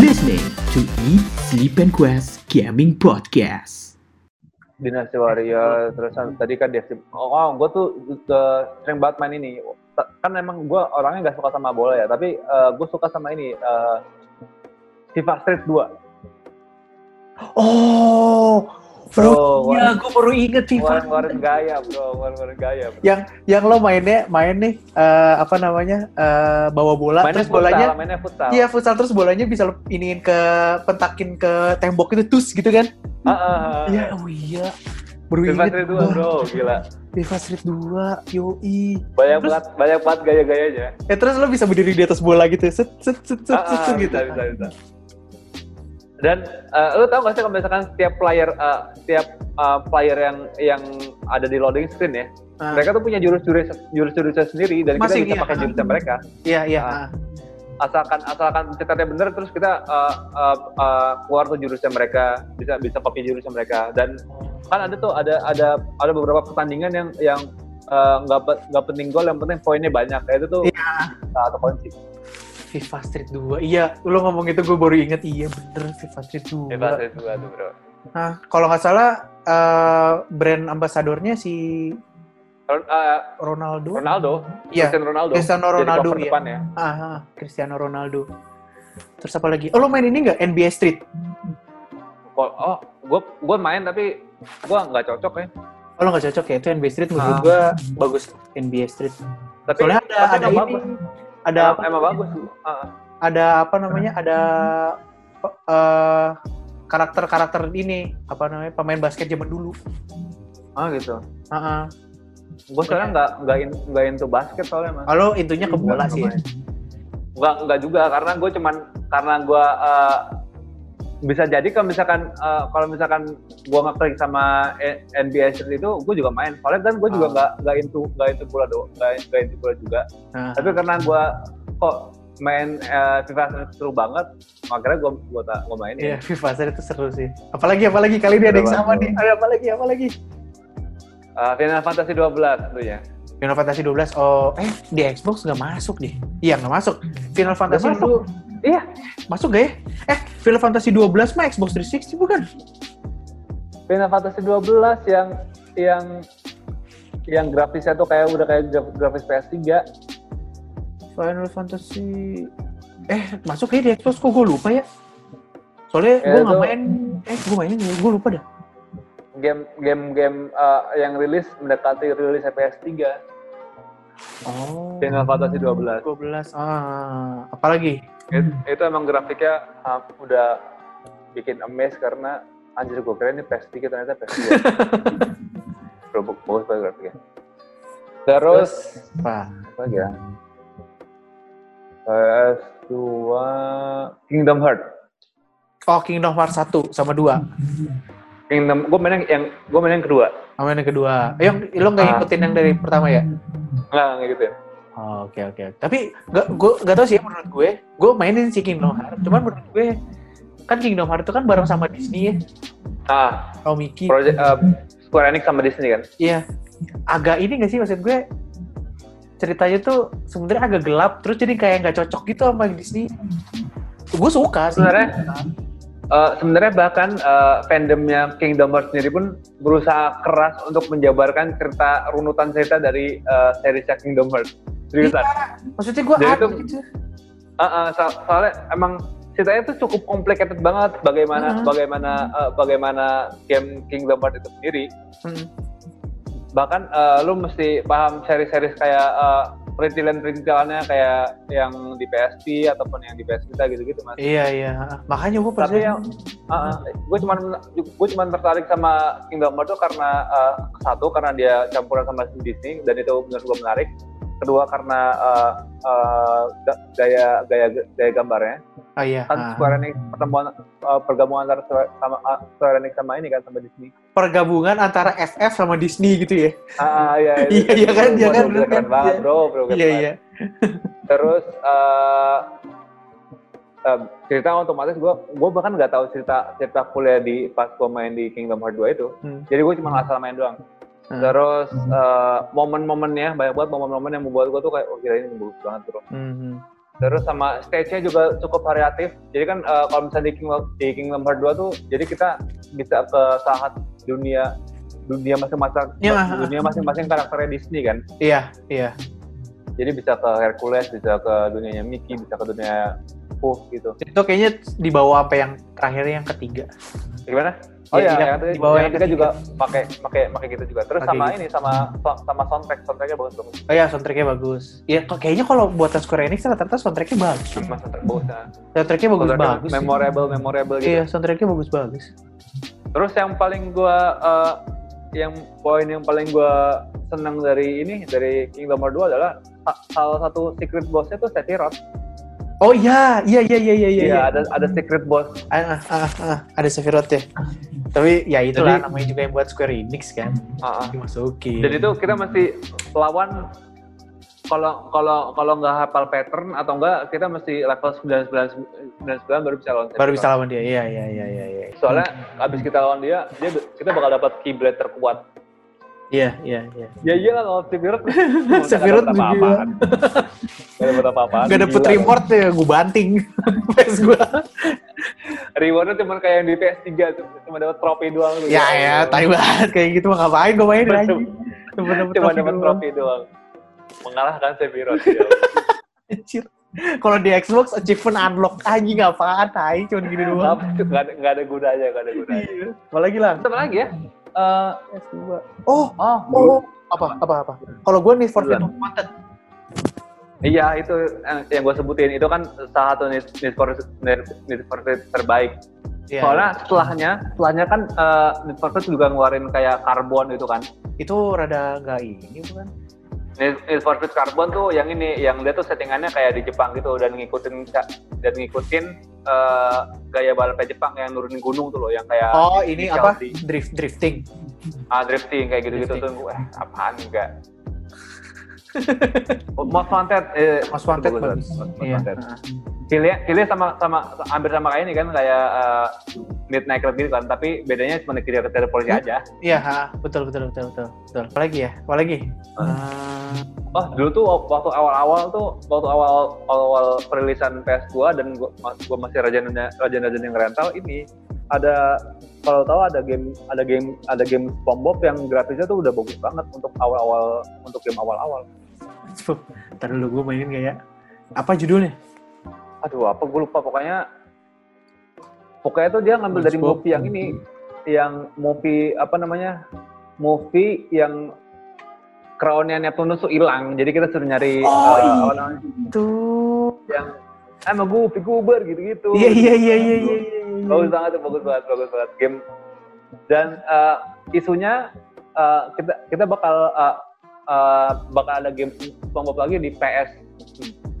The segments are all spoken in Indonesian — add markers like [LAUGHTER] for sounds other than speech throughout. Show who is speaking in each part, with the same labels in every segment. Speaker 1: to Eat, Sleep, and Quest Gaming Podcast.
Speaker 2: Dynasty Warrior terus tadi kan dia oh, oh gue tuh uh, sering banget main ini Ta- kan emang gue orangnya nggak suka sama bola ya tapi uh, gue suka sama ini uh, FIFA Street 2
Speaker 3: Oh, bro,
Speaker 2: Oh,
Speaker 3: iya, gue baru inget FIFA.
Speaker 2: ngeluarin gaya bro ngeluarin gaya bro.
Speaker 3: Yang yang lo mainnya main nih eh, apa namanya eh, bawa bola
Speaker 2: mainnya
Speaker 3: terus bolanya
Speaker 2: futsal, mainnya futsal
Speaker 3: iya futsal terus bolanya bisa lo iniin ke pentakin ke tembok itu tus gitu kan?
Speaker 2: Ah, ah, ah.
Speaker 3: Iya, oh iya. Baru
Speaker 2: FIFA
Speaker 3: inget
Speaker 2: Street 2
Speaker 3: gua.
Speaker 2: bro gila
Speaker 3: FIFA Street 2, yoi.
Speaker 2: banyak
Speaker 3: Terus-
Speaker 2: banget banyak banget gaya-gayanya
Speaker 3: Ya terus lo bisa berdiri di atas bola gitu, set set set set,
Speaker 2: Ah,
Speaker 3: set,
Speaker 2: ah,
Speaker 3: set, gitu.
Speaker 2: bisa, bisa, bisa. Dan eh, lu tau gak sih kalau misalkan setiap player eh, setiap eh, player yang yang ada di loading screen ya,
Speaker 3: Ah,
Speaker 2: mereka tuh punya jurus-jurus jurus-jurusnya sendiri dan
Speaker 3: Masing,
Speaker 2: kita bisa
Speaker 3: iya.
Speaker 2: pakai jurusnya mereka.
Speaker 3: Iya iya.
Speaker 2: Ah.
Speaker 3: ah.
Speaker 2: Asalkan asalkan pencetnya bener terus kita eh, eh, eh, keluar tuh jurusnya mereka, bisa bisa pakai jurusnya mereka dan kan ada tuh ada ada ada beberapa pertandingan yang yang eh, nggak pe- nggak penting gol yang penting poinnya banyak Ya, itu tuh
Speaker 3: Iya.
Speaker 2: salah satu kunci
Speaker 3: FIFA Street 2. Iya, lo ngomong itu gue baru inget. Iya bener FIFA Street 2.
Speaker 2: hebat itu tuh bro
Speaker 3: Nah, kalau nggak salah eh, brand ambasadornya si
Speaker 2: Ron- eh,
Speaker 3: Ronaldo.
Speaker 2: Ronaldo,
Speaker 3: Iya.
Speaker 2: Cristiano Ronaldo.
Speaker 3: Cristiano
Speaker 2: Jadi
Speaker 3: Ronaldo
Speaker 2: cover
Speaker 3: ya.
Speaker 2: depan ya.
Speaker 3: Ah, ah, Cristiano Ronaldo. Terus apa lagi? Oh, lo main ini nggak NBA Street?
Speaker 2: Kok- Oh, gue gue main tapi gue nggak cocok ya.
Speaker 3: Oh, lo nggak cocok ya? Itu NBA Street menurut
Speaker 2: Ah.
Speaker 3: gua bagus NBA Street.
Speaker 2: Tapi
Speaker 3: Soalnya ada
Speaker 2: tapi
Speaker 3: ada
Speaker 2: emang
Speaker 3: ini.
Speaker 2: bagus. Emang-
Speaker 3: Ada apa?
Speaker 2: emang bagus. Ah, ah.
Speaker 3: Ada apa namanya? Ada eh, karakter-karakter ini apa namanya pemain basket zaman dulu.
Speaker 2: Ah gitu.
Speaker 3: Ah, ah.
Speaker 2: Gue soalnya nggak nggak in, nggak into basket soalnya mas.
Speaker 3: Kalau intunya ke bola sih. ya?
Speaker 2: Nggak nggak juga karena gue cuman karena gue eh, bisa jadi kalau misalkan eh, kalau misalkan gue ngeklik sama eh, NBA Street itu gue juga main. Soalnya kan gue juga
Speaker 3: Ah.
Speaker 2: nggak nggak into nggak into bola doang, nggak nggak into bola juga.
Speaker 3: Ah.
Speaker 2: tapi karena gue kok main eh, FIFA Street seru banget makanya gue gue gue main
Speaker 3: Iya, FIFA Street itu seru sih. Apalagi apalagi kali ini ada yang sama nih. Ada apalagi apalagi?
Speaker 2: Eh, Final Fantasy 12 tentunya
Speaker 3: Final Fantasy 12 oh eh di Xbox nggak masuk deh. Iya nggak masuk. Final Fantasy
Speaker 2: masuk.
Speaker 3: itu-
Speaker 2: Iya.
Speaker 3: Masuk gak ya? Eh Final Fantasy 12 mah Xbox 360 bukan?
Speaker 2: Final Fantasy 12 yang yang yang grafisnya tuh kayak udah kayak graf- grafis PS3
Speaker 3: Final Fantasy eh masuk ya di Xbox kok gue lupa ya. Soalnya
Speaker 2: Ya,
Speaker 3: gue nggak
Speaker 2: itu-
Speaker 3: main eh gue mainin gue lupa dah.
Speaker 2: game game game eh, yang rilis mendekati rilis PS3
Speaker 3: Oh.
Speaker 2: Final Fantasy 12
Speaker 3: 12 ah apalagi?
Speaker 2: It- itu emang grafiknya ah, udah bikin amazed karena anjir gue kira ini PS3 ternyata [LAUGHS] PS2 Bro, bagus banget grafiknya terus
Speaker 3: Apa?
Speaker 2: apa lagi ya PS2 Kingdom Hearts
Speaker 3: Oh Kingdom Hearts 1 sama 2.
Speaker 2: Kingdom gue main yang, yang gue main yang kedua
Speaker 3: Sama yang kedua. Eh, yang- lo nggak
Speaker 2: Ah.
Speaker 3: ngikutin yang dari pertama ya?
Speaker 2: nggak nggak gitu ya
Speaker 3: Oh, oke oke. Tapi gak, gue gak tau sih ya, menurut gue, gue mainin si Kingdom Hearts. Cuman menurut gue kan Kingdom Hearts itu kan bareng sama Disney ya,
Speaker 2: ah
Speaker 3: sama Mickey.
Speaker 2: project eh, Square Enix sama Disney kan
Speaker 3: Iya. Agak ini gak sih maksud gue? Ceritanya tuh sebenarnya agak gelap, terus jadi kayak nggak cocok gitu sama yang Disney. Gue suka sih.
Speaker 2: Sebenarnya- Eh, sebenarnya bahkan eh, fandomnya Kingdom Hearts sendiri pun berusaha keras untuk menjabarkan cerita runutan cerita dari eh, serisnya Kingdom Hearts. Seriusan.
Speaker 3: maksudnya gue
Speaker 2: Jadi
Speaker 3: ada
Speaker 2: tuh-
Speaker 3: gitu.
Speaker 2: Eh, eh, so- soalnya emang ceritanya itu cukup complicated banget bagaimana
Speaker 3: Hmm.
Speaker 2: bagaimana eh, bagaimana game Kingdom Hearts itu sendiri.
Speaker 3: Hmm.
Speaker 2: Bahkan eh, lu mesti paham seri-seri kayak eh, perintilan-perintilannya kayak yang di PSP ataupun yang di PS Vita gitu-gitu mas.
Speaker 3: Iya iya. Makanya gue
Speaker 2: tapi yang
Speaker 3: percaya.
Speaker 2: gue cuman gue cuman tertarik sama Kingdom Hearts tuh karena eh, satu karena dia campuran sama Disney dan itu menurut gue menarik kedua karena eh, eh, ga- gaya gaya gaya gambarnya
Speaker 3: Ah iya.
Speaker 2: kan
Speaker 3: ah.
Speaker 2: Square Enix pertemuan eh, pergabungan antara Square- sama eh, Square Enix sama ini kan sama Disney
Speaker 3: Pergabungan antara FF sama Disney gitu ya.
Speaker 2: ah ah, iya
Speaker 3: Iya, iya kan, iya
Speaker 2: bener
Speaker 3: kan, bener
Speaker 2: keren
Speaker 3: kan,
Speaker 2: banget
Speaker 3: iya.
Speaker 2: bro bro keren
Speaker 3: Iya
Speaker 2: banget.
Speaker 3: iya.
Speaker 2: terus eh eh, cerita otomatis gue gue bahkan nggak tahu cerita cerita kuliah di pas gue main di Kingdom Hearts 2 itu
Speaker 3: Hmm.
Speaker 2: jadi gue cuma asal main doang
Speaker 3: Hmm.
Speaker 2: terus eh, momen-momennya banyak banget momen-momen yang membuat gue tuh kayak oh gila ini bagus banget bro
Speaker 3: Mhm.
Speaker 2: terus sama stage-nya juga cukup variatif jadi kan eh, kalau misalnya di Kingdom, di Kingdom Hearts 2 tuh jadi kita bisa ke saat dunia dunia masing-masing
Speaker 3: Ya.
Speaker 2: dunia masing-masing karakternya Disney kan
Speaker 3: Iya, iya.
Speaker 2: jadi bisa ke Hercules bisa ke dunianya Mickey bisa ke dunia Puff gitu
Speaker 3: Itu kayaknya di bawah apa yang terakhirnya yang ketiga.
Speaker 2: gimana Oh iya,
Speaker 3: Iya, iya,
Speaker 2: yang tadi
Speaker 3: di bawah
Speaker 2: yang
Speaker 3: yang
Speaker 2: kita
Speaker 3: ketiga.
Speaker 2: juga pakai pakai pakai gitu juga. Terus
Speaker 3: Pakai
Speaker 2: sama
Speaker 3: gitu.
Speaker 2: ini sama sama soundtrack soundtracknya bagus bagus.
Speaker 3: Oh iya, soundtracknya bagus. Ya kok- kayaknya kalau buatan Square Enix rata-rata soundtracknya bagus.
Speaker 2: Cuma soundtrack bagus. Nah.
Speaker 3: Soundtracknya bagus
Speaker 2: Soundtracknya
Speaker 3: bagus. sih.
Speaker 2: memorable memorable gitu.
Speaker 3: Iya, soundtracknya bagus bagus.
Speaker 2: Terus yang paling gua eh, yang poin yang paling gua senang dari ini dari Kingdom Hearts 2 adalah sa- salah satu secret bossnya tuh Sephiroth.
Speaker 3: Oh iya, iya iya iya iya.
Speaker 2: Iya,
Speaker 3: iya.
Speaker 2: ada ada secret boss.
Speaker 3: Ah, ah, ah, ah, ada Sephiroth ya. Tapi ya itulah
Speaker 2: Jadi-
Speaker 3: namanya juga yang buat Square Enix kan.
Speaker 2: Ah, ah.
Speaker 3: Dimasukin.
Speaker 2: Dan itu
Speaker 3: Iya,
Speaker 2: kita masih lawan kalau kalau kalau nggak hafal pattern atau enggak kita mesti level 99 99 baru bisa lawan
Speaker 3: baru
Speaker 2: Sephiroth.
Speaker 3: bisa lawan dia. Iya iya iya iya iya.
Speaker 2: soalnya abis kita lawan dia, dia kita bakal dapat kiblat terkuat.
Speaker 3: Iya iya iya.
Speaker 2: Ya iyalah lawan
Speaker 3: [LAUGHS]
Speaker 2: Sephiroth.
Speaker 3: Sephiroth
Speaker 2: Nggak dapat
Speaker 3: gila.
Speaker 2: apa-apaan. Nggak dapat apa-apaan.
Speaker 3: Gak dapet
Speaker 2: Gila.
Speaker 3: reward ya, gue banting. [LAUGHS] Face gue.
Speaker 2: Rewardnya cuma kayak yang di PS3 tuh, cuma dapat trofi doang. tuh.
Speaker 3: Ya ya, tai banget. Kayak gitu mah ngapain gue main
Speaker 2: Cuma-
Speaker 3: lagi. Cuma dapet
Speaker 2: Cuma
Speaker 3: trofi
Speaker 2: dapat
Speaker 3: doang.
Speaker 2: trofi doang. Mengalahkan Sephiroth. ya.
Speaker 3: Anjir. Kalau di Xbox achievement unlock anjing apaan tai cuman gini doang.
Speaker 2: Apa tuh, Nggak ada, nggak ada gunanya, nggak ada gunanya.
Speaker 3: Iya. Apalagi lah.
Speaker 2: Sama lagi ya. Eh,
Speaker 3: Oh,
Speaker 2: oh,
Speaker 3: oh, apa apa apa. Kalau gue nih for Speed
Speaker 2: Bulan. Iya itu yang, yang gue sebutin itu kan salah satu need, need, for, need, need for Speed terbaik.
Speaker 3: Iya.
Speaker 2: Soalnya setelahnya, setelahnya kan eh, Need for Speed juga ngeluarin kayak karbon gitu kan.
Speaker 3: itu rada nggak ini bukan?
Speaker 2: Need, Need for Speed karbon tuh yang ini, yang dia tuh settingannya kayak di Jepang gitu dan ngikutin dan ngikutin eh, gaya balapnya Jepang yang nurunin gunung tuh loh, yang kayak
Speaker 3: Oh, ini
Speaker 2: Inisial
Speaker 3: apa?
Speaker 2: D.
Speaker 3: Drift drifting.
Speaker 2: ah, drifting kayak gitu-gitu tuh.
Speaker 3: Drifting.
Speaker 2: Gue, eh, apaan enggak? [LAUGHS] Most Wanted, eh,
Speaker 3: Most Wanted
Speaker 2: bagus,
Speaker 3: bagus.
Speaker 2: Most- Most
Speaker 3: Iya.
Speaker 2: Wanted. Cilnya, Cilnya sama sama hampir sama kayak ini kan kayak eh, Midnight Club gitu kan, tapi bedanya cuma dikejar-kejar polisi
Speaker 3: Hmm.
Speaker 2: aja.
Speaker 3: Iya, ha, betul betul betul betul. betul. Apalagi ya? Apalagi? Eh,
Speaker 2: Oh, dulu tuh waktu awal-awal tuh waktu awal awal perilisan PS2 dan gua, ma- gua masih rajanya rajin-rajin yang rental ini ada kalau tahu ada game ada game ada game SpongeBob yang grafisnya tuh udah bagus banget untuk awal-awal untuk game awal-awal.
Speaker 3: Coba, Ah, Ntar dulu gue mainin gak ya? Apa judulnya?
Speaker 2: Aduh, apa gue lupa pokoknya pokoknya tuh dia ngambil dari
Speaker 3: SpongeBob.
Speaker 2: movie yang ini yang movie apa namanya? movie yang crown-nya Neptunus tuh hilang. Jadi kita suruh nyari
Speaker 3: Oh,
Speaker 2: eh,
Speaker 3: iya.
Speaker 2: apa namanya?
Speaker 3: Tuh.
Speaker 2: yang "Ah, I'm a goofy goober gitu-gitu.
Speaker 3: Iya iya iya iya iya. iya, iya.
Speaker 2: Bagus banget tuh, bagus banget, bagus banget game. Dan eh, isunya eh, kita kita bakal eh, eh, bakal ada game SpongeBob lagi di PS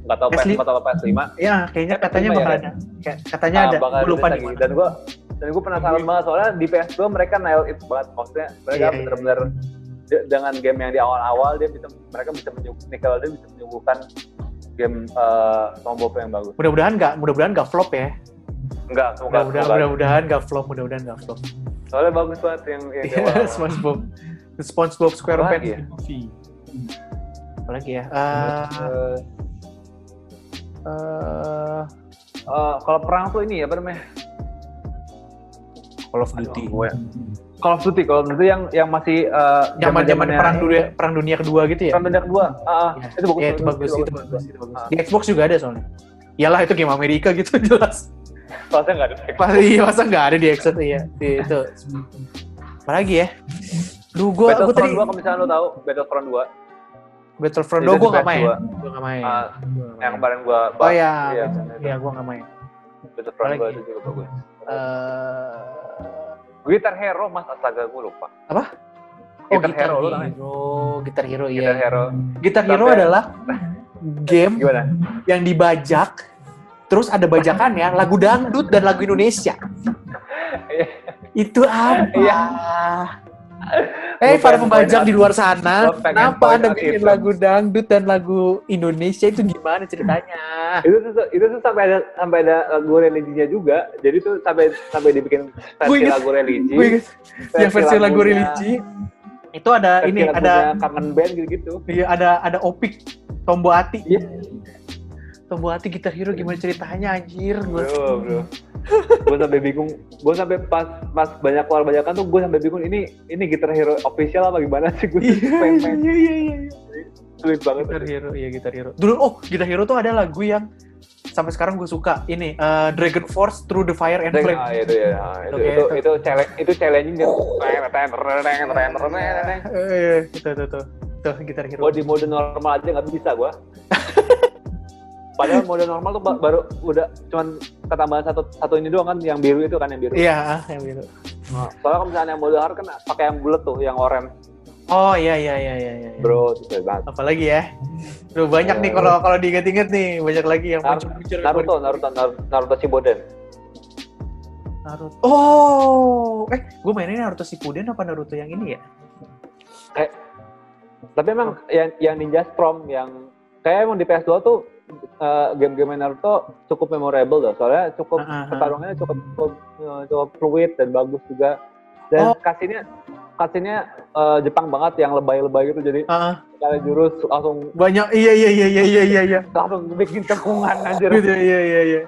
Speaker 2: nggak tahu PS4
Speaker 3: PS5.
Speaker 2: atau PS5.
Speaker 3: Ya, kayaknya
Speaker 2: Eh,
Speaker 3: katanya
Speaker 2: lima ya,
Speaker 3: bakal
Speaker 2: Ren?
Speaker 3: ada. Kayak- Katanya ada.
Speaker 2: bakal
Speaker 3: Gue lupa
Speaker 2: rilis
Speaker 3: di
Speaker 2: lagi.
Speaker 3: mana.
Speaker 2: Dan gue dan gue penasaran
Speaker 3: Iya.
Speaker 2: banget soalnya di PS2 mereka nail it banget maksudnya mereka
Speaker 3: Iya, iya.
Speaker 2: benar-benar de- dengan game yang di awal-awal dia bisa mereka bisa menyuguh Nickelodeon bisa menyuguhkan game eh, SpongeBob yang bagus.
Speaker 3: Mudah-mudahan nggak, mudah-mudahan nggak flop ya.
Speaker 2: Enggak, semoga,
Speaker 3: Mudah-mudahan,
Speaker 2: semoga
Speaker 3: mudah-mudahan nggak flop, mudahan nggak flop. Iya,
Speaker 2: Soalnya bagus banget yang yang di awal.
Speaker 3: SpongeBob, SpongeBob SquarePants
Speaker 2: Apalagi ya?
Speaker 3: movie. Apalagi ya? Eh,
Speaker 2: Eh,
Speaker 3: eh,
Speaker 2: eh, kalau perang tuh ini ya apa namanya?
Speaker 3: Call of
Speaker 2: Aduh,
Speaker 3: Duty.
Speaker 2: gue. Call of Duty, Call of Duty yang yang masih eh,
Speaker 3: Zaman-zaman
Speaker 2: zaman-zamannya-
Speaker 3: perang dunia, perang dunia kedua gitu ya?
Speaker 2: Perang dunia kedua. Ah, ah,
Speaker 3: Ya,
Speaker 2: itu bagus.
Speaker 3: ya, itu bagus, itu bagus, itu bagus.
Speaker 2: Ah.
Speaker 3: Di Xbox juga ada soalnya. Iyalah itu game Amerika gitu [LAUGHS] jelas.
Speaker 2: Soalnya nggak ada.
Speaker 3: Pasti masa nggak ada di Xbox [LAUGHS] iya. Di, itu. Apalagi ya? Duh, gue gue
Speaker 2: Battlefront
Speaker 3: tadi
Speaker 2: 2 kalau misalnya lo tahu Battlefront 2
Speaker 3: Iya, Battlefront
Speaker 2: itu
Speaker 3: 2 gue
Speaker 2: di
Speaker 3: nggak main.
Speaker 2: PS2.
Speaker 3: Gue nggak main.
Speaker 2: Ah,
Speaker 3: Gua nggak
Speaker 2: yang
Speaker 3: main.
Speaker 2: kemarin gua
Speaker 3: Oh
Speaker 2: bahas.
Speaker 3: ya,
Speaker 2: Iya,
Speaker 3: iya gue nggak main.
Speaker 2: Battlefront 2
Speaker 3: Apalagi?
Speaker 2: itu juga bagus.
Speaker 3: Eh,
Speaker 2: Guitar Hero Mas astaga gua lupa.
Speaker 3: Apa? Oh,
Speaker 2: Guitar Hero lo namanya.
Speaker 3: Hero, Guitar Hero, iya.
Speaker 2: Guitar Hero.
Speaker 3: Guitar Hero
Speaker 2: Sampai- [LAUGHS]
Speaker 3: adalah game
Speaker 2: Gimana?
Speaker 3: yang dibajak, terus ada bajakannya, lagu dangdut dan lagu Indonesia.
Speaker 2: Iya.
Speaker 3: Itu apa?
Speaker 2: Iya.
Speaker 3: Eh,
Speaker 2: Gua
Speaker 3: para
Speaker 2: pengen
Speaker 3: pembajak
Speaker 2: point
Speaker 3: di luar sana,
Speaker 2: Gua pengen
Speaker 3: kenapa
Speaker 2: point
Speaker 3: Anda
Speaker 2: out
Speaker 3: bikin
Speaker 2: itu.
Speaker 3: lagu dangdut dan lagu Indonesia itu gimana ceritanya?
Speaker 2: Itu tuh, itu tuh sampai ada sampai ada lagu religinya juga. Jadi tuh sampai sampai dibikin
Speaker 3: Gua
Speaker 2: versi
Speaker 3: inget-
Speaker 2: lagu religi.
Speaker 3: Gue inget, yang versi lagu
Speaker 2: lagunya-
Speaker 3: religi, itu ada
Speaker 2: versi
Speaker 3: ini,
Speaker 2: lagunya
Speaker 3: ada
Speaker 2: kangen band gitu-gitu.
Speaker 3: iya, ada ada opik, tombo hati.
Speaker 2: Iya.
Speaker 3: Tomo hati gitar hero gimana ceritanya anjir gue.
Speaker 2: bro bro gue sampai bingung gue sampai pas pas banyak keluar banyakan tuh gue sampai bingung ini ini gitar hero official apa gimana sih gue pengen pengen
Speaker 3: iya iya iya.
Speaker 2: sulit banget
Speaker 3: Gitar hero, iya gitar hero. Dulu oh gitar hero tuh ada lagu yang sampai sekarang gue suka ini eh, Dragon Force Through the Fire and
Speaker 2: Saya-
Speaker 3: Flame.
Speaker 2: ah, itu ya ah, itu
Speaker 3: Oke,
Speaker 2: itu
Speaker 3: itu.
Speaker 2: itu challenge itu challenging dan
Speaker 3: Eh, Iya, itu tuh tuh. Tuh gitar hero.
Speaker 2: gue di mode normal aja nggak bisa
Speaker 3: [LAUGHS]
Speaker 2: gue padahal mode normal tuh ba- baru udah cuman ketambahan satu satu ini doang kan yang biru itu kan yang biru
Speaker 3: Iya, ah, yang gitu.
Speaker 2: soalnya kalau misalnya yang mode hard kan pakai yang bulat tuh yang orange
Speaker 3: Oh iya iya iya iya. iya.
Speaker 2: bro susah banget
Speaker 3: Apalagi ya? Duh, banyak nih kalau kalau diinget-inget nih, banyak lagi yang
Speaker 2: Nar-
Speaker 3: muncul-muncul.
Speaker 2: Naruto, Naruto, Naruto, Naruto Shippuden.
Speaker 3: Naruto. Oh, eh, gue mainnya Naruto Shippuden apa Naruto yang ini ya?
Speaker 2: Tapi emang
Speaker 3: Oh.
Speaker 2: yang yang Ninja Storm yang kayak emang di PS2 tuh eh, game-game Naruto cukup memorable loh. Soalnya cukup
Speaker 3: Ah, ah, ah.
Speaker 2: pertarungannya cukup cukup, eh, cukup fluid dan bagus juga. Dan
Speaker 3: Oh.
Speaker 2: kasihnya kasihnya eh, Jepang banget yang lebay-lebay gitu jadi
Speaker 3: Ah,
Speaker 2: sekali jurus langsung
Speaker 3: banyak. Iya iya iya iya iya iya. iya.
Speaker 2: langsung bikin cekungan anjir.
Speaker 3: Gitu, iya iya iya.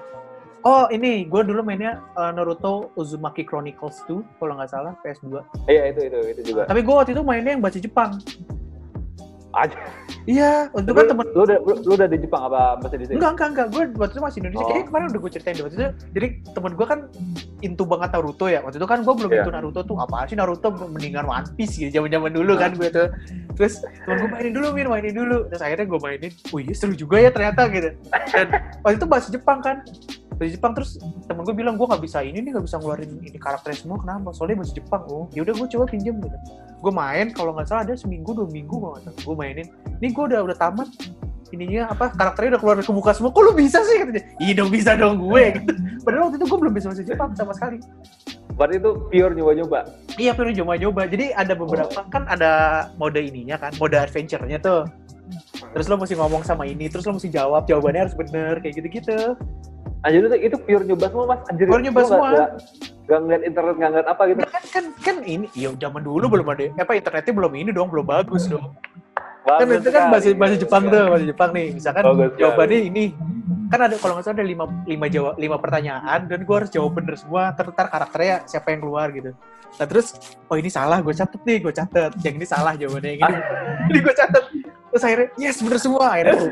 Speaker 3: Oh ini, gue dulu mainnya uh, Naruto Uzumaki Chronicles 2, kalau nggak salah PS2.
Speaker 2: Iya itu itu itu juga.
Speaker 3: Tapi gue waktu itu mainnya yang baca Jepang.
Speaker 2: Aja.
Speaker 3: Iya, untuk kan
Speaker 2: Lu,
Speaker 3: temen
Speaker 2: lu, udah lu, lu udah di Jepang apa masih di sini?
Speaker 3: Enggak, enggak, enggak. Gue waktu itu masih Indonesia.
Speaker 2: Oh.
Speaker 3: Kayaknya kemarin udah gue ceritain deh. Waktu itu, jadi temen gue kan into banget Naruto ya. Waktu itu kan gue belum
Speaker 2: Iya.
Speaker 3: into Naruto tuh. Apaan sih Naruto mendingan One Piece gitu. zaman zaman dulu kan gue tuh. Terus temen gue mainin dulu, Min. Mainin dulu. Terus akhirnya gue mainin. Wih, seru juga ya ternyata gitu. Dan waktu itu bahasa Jepang kan. Bahasa Jepang terus temen gue bilang, gue nggak bisa ini nih, nggak bisa ngeluarin ini karakter semua. Kenapa? Soalnya bahasa Jepang. Oh, yaudah gue coba pinjem gitu. Gue main, kalau nggak salah ada seminggu, dua minggu kalau nggak salah. Gue mainin. Ini gue udah udah tamat ininya apa karakternya udah keluar ke muka semua kok lu bisa sih katanya iya dong bisa dong [LAUGHS] gue gitu padahal waktu itu gue belum bisa bahasa Jepang sama sekali
Speaker 2: Berarti itu pure nyoba-nyoba.
Speaker 3: iya perlu coba-coba jadi ada beberapa kan ada mode ininya kan mode adventure-nya tuh terus lo mesti ngomong sama ini terus lo mesti jawab jawabannya harus bener kayak gitu-gitu
Speaker 2: Anjir itu, itu pure nyoba semua mas. Anjir,
Speaker 3: Pure nyoba
Speaker 2: lu nggak-
Speaker 3: semua.
Speaker 2: nggak- nggak ngeliat internet, nggak ngeliat apa gitu.
Speaker 3: Nah, kan kan kan ini iya zaman dulu belum ada apa internetnya belum ini dong belum bagus dong kan
Speaker 2: Bagus
Speaker 3: itu kan bahasa
Speaker 2: sekali.
Speaker 3: bahasa Jepang tuh bahasa Jepang nih misalkan
Speaker 2: Bagus sekali.
Speaker 3: jawabannya ini kan ada kalau nggak salah ada lima lima jawab lima pertanyaan dan gue harus jawab bener semua ntar, ntar karakternya siapa yang keluar gitu nah terus oh ini salah gue catet nih gue catet yang ini salah jawabannya yang ini
Speaker 2: Ah.
Speaker 3: ini gue catet terus akhirnya yes bener semua akhirnya tuh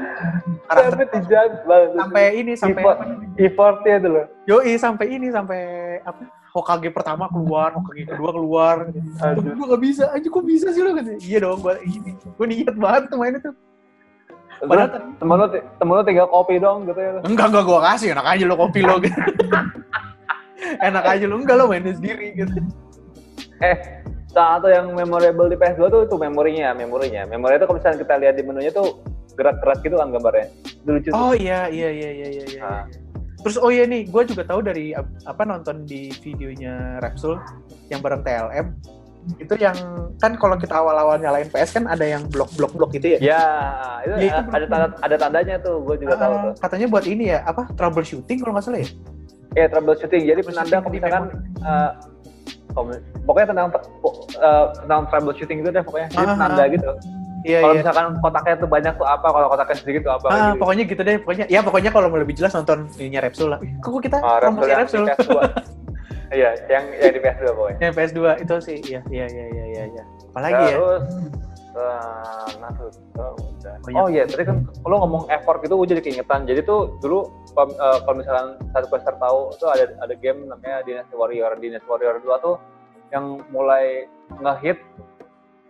Speaker 3: karakter
Speaker 2: Sampai dijat banget.
Speaker 3: sampai ini sampai
Speaker 2: Effort- effortnya itu loh.
Speaker 3: yoi sampai ini sampai apa Hokage pertama keluar, Hokage kedua keluar. Tapi
Speaker 2: Aduh.
Speaker 3: gue gak bisa, aja gue bisa sih lo katanya. Iya dong, gue ini, gue niat banget tuh mainnya tuh. Padahal
Speaker 2: Terus temen lo, temen lo tinggal kopi dong gitu ya.
Speaker 3: enggak enggak gua kasih enak aja lo kopi lo gitu [LAUGHS] enak aja lo enggak lo mainnya sendiri gitu
Speaker 2: Eh, salah satu yang memorable di PS2 tuh itu memorinya, memorinya. Memorinya tuh kalau misalnya kita lihat di menunya tuh gerak-gerak gitu kan gambarnya. Itu lucu. tuh.
Speaker 3: oh iya iya iya iya iya iya.
Speaker 2: Ah.
Speaker 3: terus oh iya nih gua juga tahu dari ap- apa nonton di videonya Repsol yang bareng TLM itu yang kan kalau kita awal-awal nyalain PS kan ada yang blok-blok-blok gitu ya
Speaker 2: Ya, itu,
Speaker 3: Ya, itu
Speaker 2: ada tanda ada tandanya tuh, gue juga tahu tuh.
Speaker 3: Ah, katanya buat ini ya apa troubleshooting kalau nggak salah ya
Speaker 2: Iya, troubleshooting. Jadi
Speaker 3: Troubleshooting
Speaker 2: penanda kalau
Speaker 3: di
Speaker 2: misalkan eh, kalau- pokoknya tentang eh, tentang troubleshooting itu deh pokoknya. Jadi
Speaker 3: Ah,
Speaker 2: penanda
Speaker 3: ah.
Speaker 2: gitu.
Speaker 3: iya
Speaker 2: Kalau
Speaker 3: iya
Speaker 2: misalkan kotaknya tuh banyak tuh apa, kalau kotaknya sedikit tuh apa.
Speaker 3: Ah,
Speaker 2: kayak gitu.
Speaker 3: pokoknya gitu deh pokoknya ya pokoknya kalau mau lebih jelas nonton ininya Repsol lah kok kita
Speaker 2: Ah, Repsol
Speaker 3: promosi
Speaker 2: yang di
Speaker 3: Repsol ya.
Speaker 2: PS2.
Speaker 3: [LAUGHS]
Speaker 2: Iya, yang yang di PS2 pokoknya.
Speaker 3: Ya PS2 itu sih. Iya, iya, iya, iya, iya. Ya. Apalagi ya?
Speaker 2: Terus eh, Naruto udah.
Speaker 3: Banyak.
Speaker 2: Oh iya, tadi kan lo ngomong effort gitu, gue jadi keingetan. Jadi tuh dulu pem- eh, kalau misalkan satu player tahu tuh ada ada game namanya Dynasty Warrior. Dynasty Warrior 2 tuh yang mulai ngehit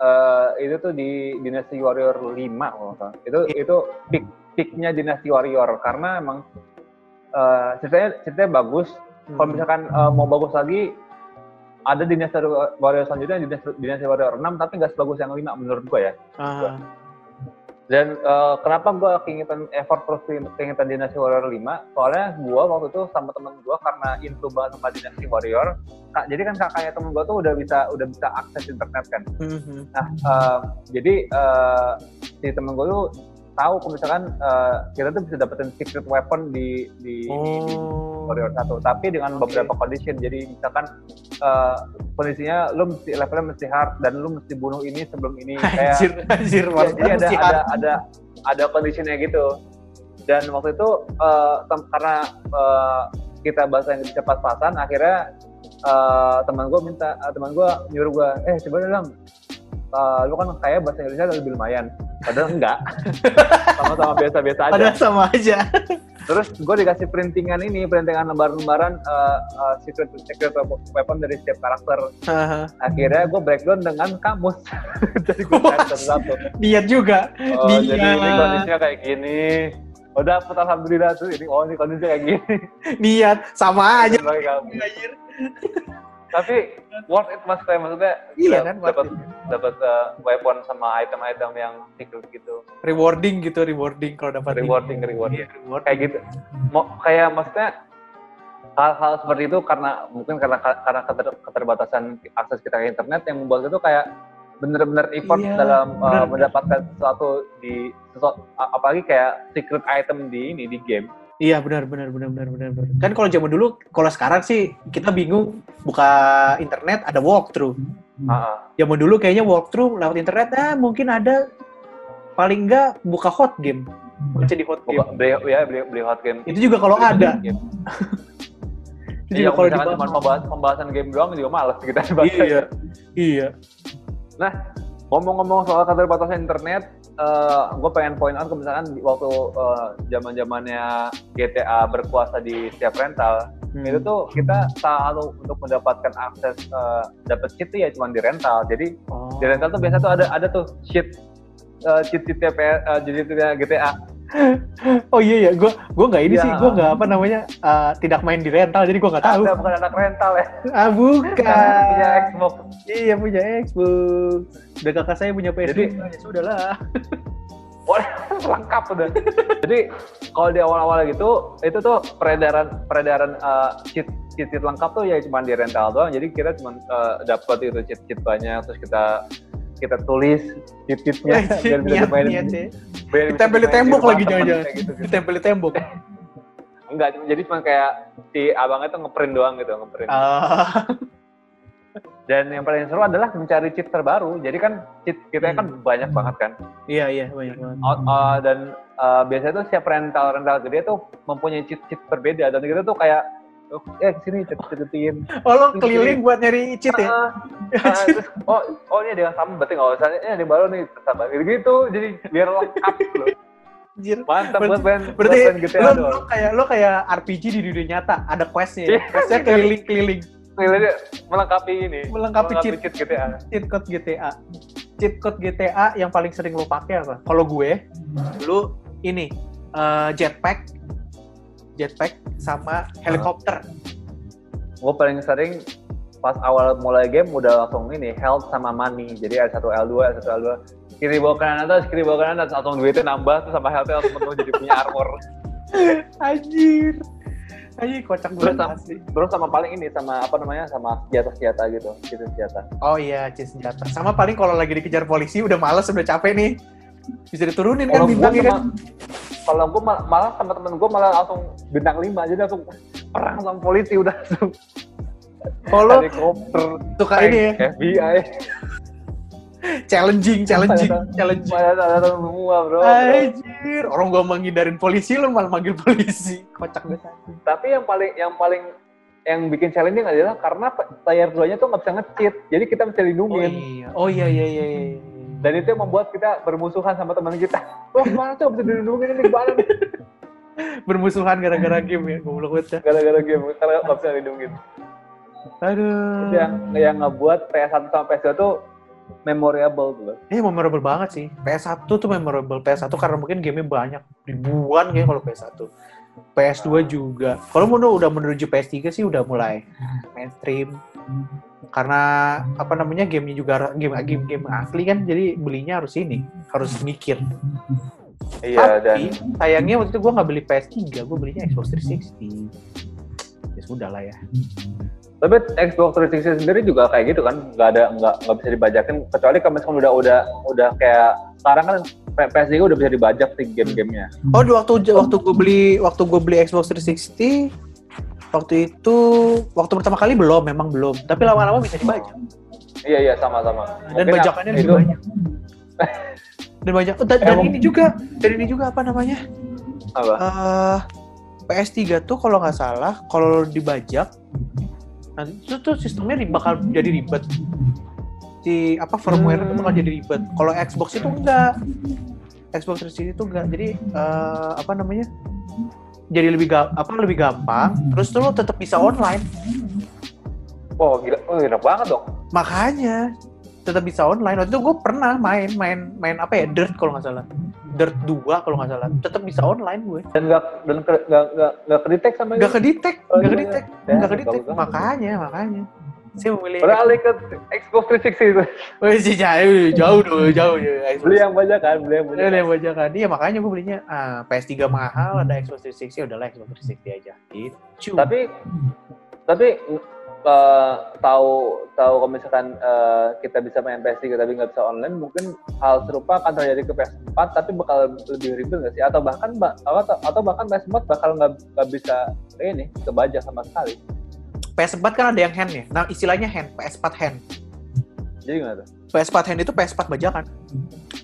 Speaker 2: eh, itu tuh di Dynasty Warrior 5 kalau nggak salah. Itu
Speaker 3: Iya.
Speaker 2: itu peak peaknya Dynasty Warrior karena emang eh, ceritanya ceritanya bagus.
Speaker 3: Hmm.
Speaker 2: Kalau misalkan eh, mau bagus lagi ada Dynasty Warrior selanjutnya Dynasty, Dynasty Warrior 6 tapi nggak sebagus yang 5 menurut gua ya.
Speaker 3: Ah,
Speaker 2: Dan eh, kenapa gue keingetan effort terus keing- keingetan Dynasty Warrior 5? Soalnya gue waktu itu sama temen gue karena into banget sama Dynasty Warrior. Kak, jadi kan kakaknya temen gue tuh udah bisa udah bisa akses internet kan.
Speaker 3: mhm.
Speaker 2: Nah, eh, jadi eh, si temen gue tuh tahu kalau misalkan eh, kita tuh bisa dapetin secret weapon di di, di
Speaker 3: Oh.
Speaker 2: Warrior 1 tapi dengan
Speaker 3: Oke.
Speaker 2: beberapa condition jadi misalkan eh, kondisinya lu mesti levelnya mesti hard dan lu mesti bunuh ini
Speaker 3: [LAUGHS]
Speaker 2: sebelum ini kayak
Speaker 3: [LAUGHS] Anjir, anjir,
Speaker 2: Ya, [LAUGHS] jadi
Speaker 3: warna
Speaker 2: ada
Speaker 3: mesti
Speaker 2: ada
Speaker 3: hard.
Speaker 2: ada ada conditionnya gitu dan waktu itu eh, tem- karena eh, kita bahasa Inggris pas-pasan akhirnya eh, teman gue minta eh, teman gue nyuruh gue eh coba dong Lang, eh, lu kan kayak bahasa Inggrisnya lebih lumayan padahal
Speaker 3: [LAUGHS]
Speaker 2: enggak sama-sama biasa-biasa aja
Speaker 3: Padahal sama aja.
Speaker 2: Terus gue dikasih printingan ini, printingan lembaran-lembaran uh, uh, secret secret weapon dari setiap karakter. Akhirnya gue breakdown dengan kamus [LAUGHS] dari gue
Speaker 3: [LAUGHS]
Speaker 2: satu.
Speaker 3: [LAUGHS] Niat juga.
Speaker 2: Oh,
Speaker 3: Oh, Dia.
Speaker 2: jadi ini kondisinya kayak gini. Oh dapet alhamdulillah tuh ini oh ini kondisinya kayak gini.
Speaker 3: Niat sama [LAUGHS] aja.
Speaker 2: Sebagai kamus.
Speaker 3: Anjir.
Speaker 2: Tapi worth it mas kayak maksudnya
Speaker 3: Iya
Speaker 2: dap-
Speaker 3: kan, worth
Speaker 2: dapat
Speaker 3: it.
Speaker 2: dapat uh, weapon sama item-item yang secret gitu.
Speaker 3: Rewarding gitu, rewarding kalau dapat.
Speaker 2: Rewarding, rewarding.
Speaker 3: Iya, rewarding.
Speaker 2: kayak gitu mau kayak maksudnya hal-hal seperti itu karena mungkin karena karena keter- keterbatasan akses kita ke internet yang membuat itu kayak bener-bener effort
Speaker 3: Iya,
Speaker 2: dalam uh,
Speaker 3: bener-bener.
Speaker 2: mendapatkan sesuatu di sesuatu, apalagi kayak secret item di ini di game
Speaker 3: Iya benar benar benar benar benar. benar. Kan kalau zaman dulu, kalau sekarang sih kita bingung buka internet ada walkthrough. Hmm.
Speaker 2: Heeh.
Speaker 3: Zaman dulu kayaknya walkthrough lewat internet ah mungkin ada paling enggak buka hot game, baca di hot
Speaker 2: Buka,
Speaker 3: game.
Speaker 2: beli, ya beli, beli hot game
Speaker 3: Iya. Itu juga kalau
Speaker 2: Beli
Speaker 3: ada.
Speaker 2: game. Iya,
Speaker 3: Itu juga
Speaker 2: kalau
Speaker 3: kalau
Speaker 2: misalkan
Speaker 3: dibahas.
Speaker 2: cuma pembahas, pembahasan game doang juga males gitu kan, kita bahas.
Speaker 3: Iya. Iya.
Speaker 2: Nah, Ngomong-ngomong soal keterbatasan internet, gue pengen point out ke misalkan di- waktu eh, zaman zamannya GTA berkuasa di setiap rental,
Speaker 3: Hmm.
Speaker 2: itu tuh kita selalu untuk mendapatkan akses eh, dapet cheat tuh ya cuma di rental. Jadi
Speaker 3: Oh.
Speaker 2: di rental tuh biasa tuh ada ada tuh cheat eh, cheat cheat TPR, eh, cheat cheatnya GTA.
Speaker 3: Oh iya iya, gua gua nggak ini
Speaker 2: Iya.
Speaker 3: sih, gua nggak apa namanya eh, tidak main di rental, jadi gua nggak tahu.
Speaker 2: Ada bukan anak rental ya? Yang
Speaker 3: Ah
Speaker 2: punya
Speaker 3: bukan.
Speaker 2: Xbox.
Speaker 3: Iya punya Xbox. Udah kakak saya punya PS5. [LAUGHS]
Speaker 2: Jadi-
Speaker 3: ya sudah
Speaker 2: [LAUGHS]
Speaker 3: lah.
Speaker 2: Wah, lengkap udah. Jadi kalau di awal-awal gitu, itu tuh peredaran peredaran eh, cheat cheat cheat lengkap tuh ya cuma di rental doang. Jadi kita cuma eh, dapet itu cheat cheat banyak, terus kita kita tulis cheat
Speaker 3: [LAUGHS]
Speaker 2: cheatnya [LAUGHS] biar bisa
Speaker 3: Iya, niat,
Speaker 2: dimainin-
Speaker 3: niat ya.
Speaker 2: biar bisa
Speaker 3: Ditempel di
Speaker 2: dimainin
Speaker 3: tembok
Speaker 2: rumah
Speaker 3: lagi
Speaker 2: temen,
Speaker 3: jangan-jangan.
Speaker 2: kayak gitu, gitu.
Speaker 3: Ditempel di
Speaker 2: [LAUGHS]
Speaker 3: tembok.
Speaker 2: Enggak, cuma- jadi cuma kayak si abangnya tuh ngeprint doang gitu, ngeprint.
Speaker 3: Ah,
Speaker 2: Dan yang paling seru adalah mencari cheat terbaru. Jadi kan cheat kita
Speaker 3: Hmm.
Speaker 2: kan banyak banget kan.
Speaker 3: iya iya banyak banget.
Speaker 2: Out- uh, dan uh, biasanya tuh siap rental rental gede tuh mempunyai cheat cheat berbeda dan kita tuh kayak "Oh, eh sini cheat
Speaker 3: [LAUGHS]
Speaker 2: cheatin
Speaker 3: Oh lo keliling buat nyari cheat ya?
Speaker 2: oh oh ini ada yang sama berarti nggak usah ini ada yang baru nih sama gitu gitu jadi biar lengkap loh
Speaker 3: Anjir.
Speaker 2: mantap
Speaker 3: Berarti-
Speaker 2: buat band
Speaker 3: Berarti
Speaker 2: buat band gitu ya, GTA
Speaker 3: lo, lo
Speaker 2: doang
Speaker 3: kayak lo kayak RPG di dunia nyata, ada questnya. ya?
Speaker 2: [LAUGHS] Iya.
Speaker 3: Questnya keliling-keliling
Speaker 2: Kelihatannya melengkapi gitu ya. ini
Speaker 3: Melengkapi cheat.
Speaker 2: cheat GTA
Speaker 3: cheat code GTA. Cheat code GTA yang paling sering lo pakai apa? Kalau gue, dulu ini eh, jetpack, jetpack sama
Speaker 2: [LAUGHS]
Speaker 3: helikopter.
Speaker 2: gue paling sering pas awal mulai game udah langsung ini health sama money jadi R1 L2 R1 L2 kiri bawah kanan atas kiri bawah kanan atas langsung duitnya nambah terus sama healthnya langsung penuh jadi punya armor
Speaker 3: Anjir. Anjir kocak
Speaker 2: Terus
Speaker 3: banget
Speaker 2: sama-
Speaker 3: asli.
Speaker 2: terus sama paling ini sama apa namanya sama senjata senjata gitu gitu senjata
Speaker 3: Oh iya, cheat senjata. Sama paling kalau lagi dikejar polisi udah males, udah capek nih. Bisa diturunin kan
Speaker 2: kalau gue
Speaker 3: bintangnya kan.
Speaker 2: sama- kalau gue mal- malah sama temen gue malah langsung bintang 5 jadi langsung perang sama polisi udah langsung
Speaker 3: Kalau
Speaker 2: helikopter
Speaker 3: suka
Speaker 2: tank,
Speaker 3: ini ya,
Speaker 2: FBI
Speaker 3: challenging,
Speaker 2: [LAUGHS]
Speaker 3: challenging,
Speaker 2: Pada-
Speaker 3: challenging.
Speaker 2: pada pada semua bro, bro.
Speaker 3: Anjir, orang gua menghindarin polisi lu malah manggil polisi. Kocak banget.
Speaker 2: tapi yang paling yang paling yang bikin challenging adalah karena player 2 nya tuh nggak bisa nge-cheat jadi kita mesti
Speaker 3: Oh
Speaker 2: lindungin
Speaker 3: iya, oh iya iya iya. iya.
Speaker 2: dan itu yang membuat kita bermusuhan sama teman kita [LAUGHS] wah mana tuh bisa dilindungin ini gimana nih
Speaker 3: Bermusuhan gara-gara game ya, goblok banget. dah.
Speaker 2: gara-gara game karena nggak bisa lindungin
Speaker 3: Aduh.
Speaker 2: itu yang yang ngebuat PS1 sama PS2 tuh memorable gitu. tuh loh.
Speaker 3: Eh, memorable banget sih. PS1 tuh memorable. PS1 karena mungkin gamenya banyak. Ribuan kayaknya kalau PS1. PS2 juga. Kalau mau udah menuju PS3 sih udah mulai mainstream. Karena apa namanya gamenya juga game game game asli kan jadi belinya harus ini harus mikir.
Speaker 2: iya
Speaker 3: Tapi,
Speaker 2: dan
Speaker 3: sayangnya waktu itu gue nggak beli PS3, gue belinya Xbox 360. Ya sudah lah ya.
Speaker 2: tapi Xbox 360 sendiri juga kayak gitu kan nggak ada nggak nggak bisa dibajakin kecuali kalau misalkan udah udah udah kayak sekarang kan PS3 udah bisa dibajak sih game-gamenya
Speaker 3: Oh, di waktu waktu gue beli waktu gue beli Xbox 360 waktu itu waktu pertama kali belum memang belum tapi lama-lama bisa dibajak
Speaker 2: Iya iya sama-sama.
Speaker 3: dan
Speaker 2: Mungkin
Speaker 3: bajakannya
Speaker 2: itu
Speaker 3: lebih banyak dan banyak oh, dan, dan
Speaker 2: Emang-
Speaker 3: ini juga dan ini juga apa namanya
Speaker 2: Apa?
Speaker 3: eh PS3 tuh kalau nggak salah kalau dibajak nanti itu tuh sistemnya ri- bakal jadi ribet si apa firmware itu bakal jadi ribet kalau Xbox itu enggak Xbox 360 itu enggak jadi eh, apa namanya jadi lebih ga- apa lebih gampang terus tuh lo tetap bisa online
Speaker 2: Oh gila, oh, enak banget dong.
Speaker 3: makanya tetap bisa online waktu itu gue pernah main main main apa ya Dirt kalau nggak salah Dirt 2 kalau nggak salah tetap bisa online gue
Speaker 2: Dan nggak dan ke- nggak nggak nggak kedetek sama
Speaker 3: nggak kedetek
Speaker 2: Oh,
Speaker 3: nggak
Speaker 2: iya.
Speaker 3: kedetek
Speaker 2: Ya,
Speaker 3: nggak kedetek
Speaker 2: bagus banget.
Speaker 3: makanya makanya saya memilih
Speaker 2: Padahal alih ke Xbox 360 itu.
Speaker 3: Wih, sih, jauh jauh dong jauh jauh Xbox.
Speaker 2: Beli yang banyak kan, beli yang banyak.
Speaker 3: Udah deh baca tadi ya makanya gue belinya ah, PS3 mahal ada Xbox 360 ya udahlah Xbox 360 aja gitu
Speaker 2: tapi tapi eh, tahu tahu kalau misalkan eh, kita bisa main PS3 tapi nggak bisa online mungkin hal serupa akan terjadi ke PS4 tapi bakal lebih ribet nggak sih atau bahkan ba- atau, atau bahkan PS4 bakal nggak nggak bisa ini kebajak sama sekali
Speaker 3: PS4 kan ada yang hand ya nah istilahnya hand PS4 hand
Speaker 2: jadi gimana tuh
Speaker 3: PS4 hand itu PS4 bajakan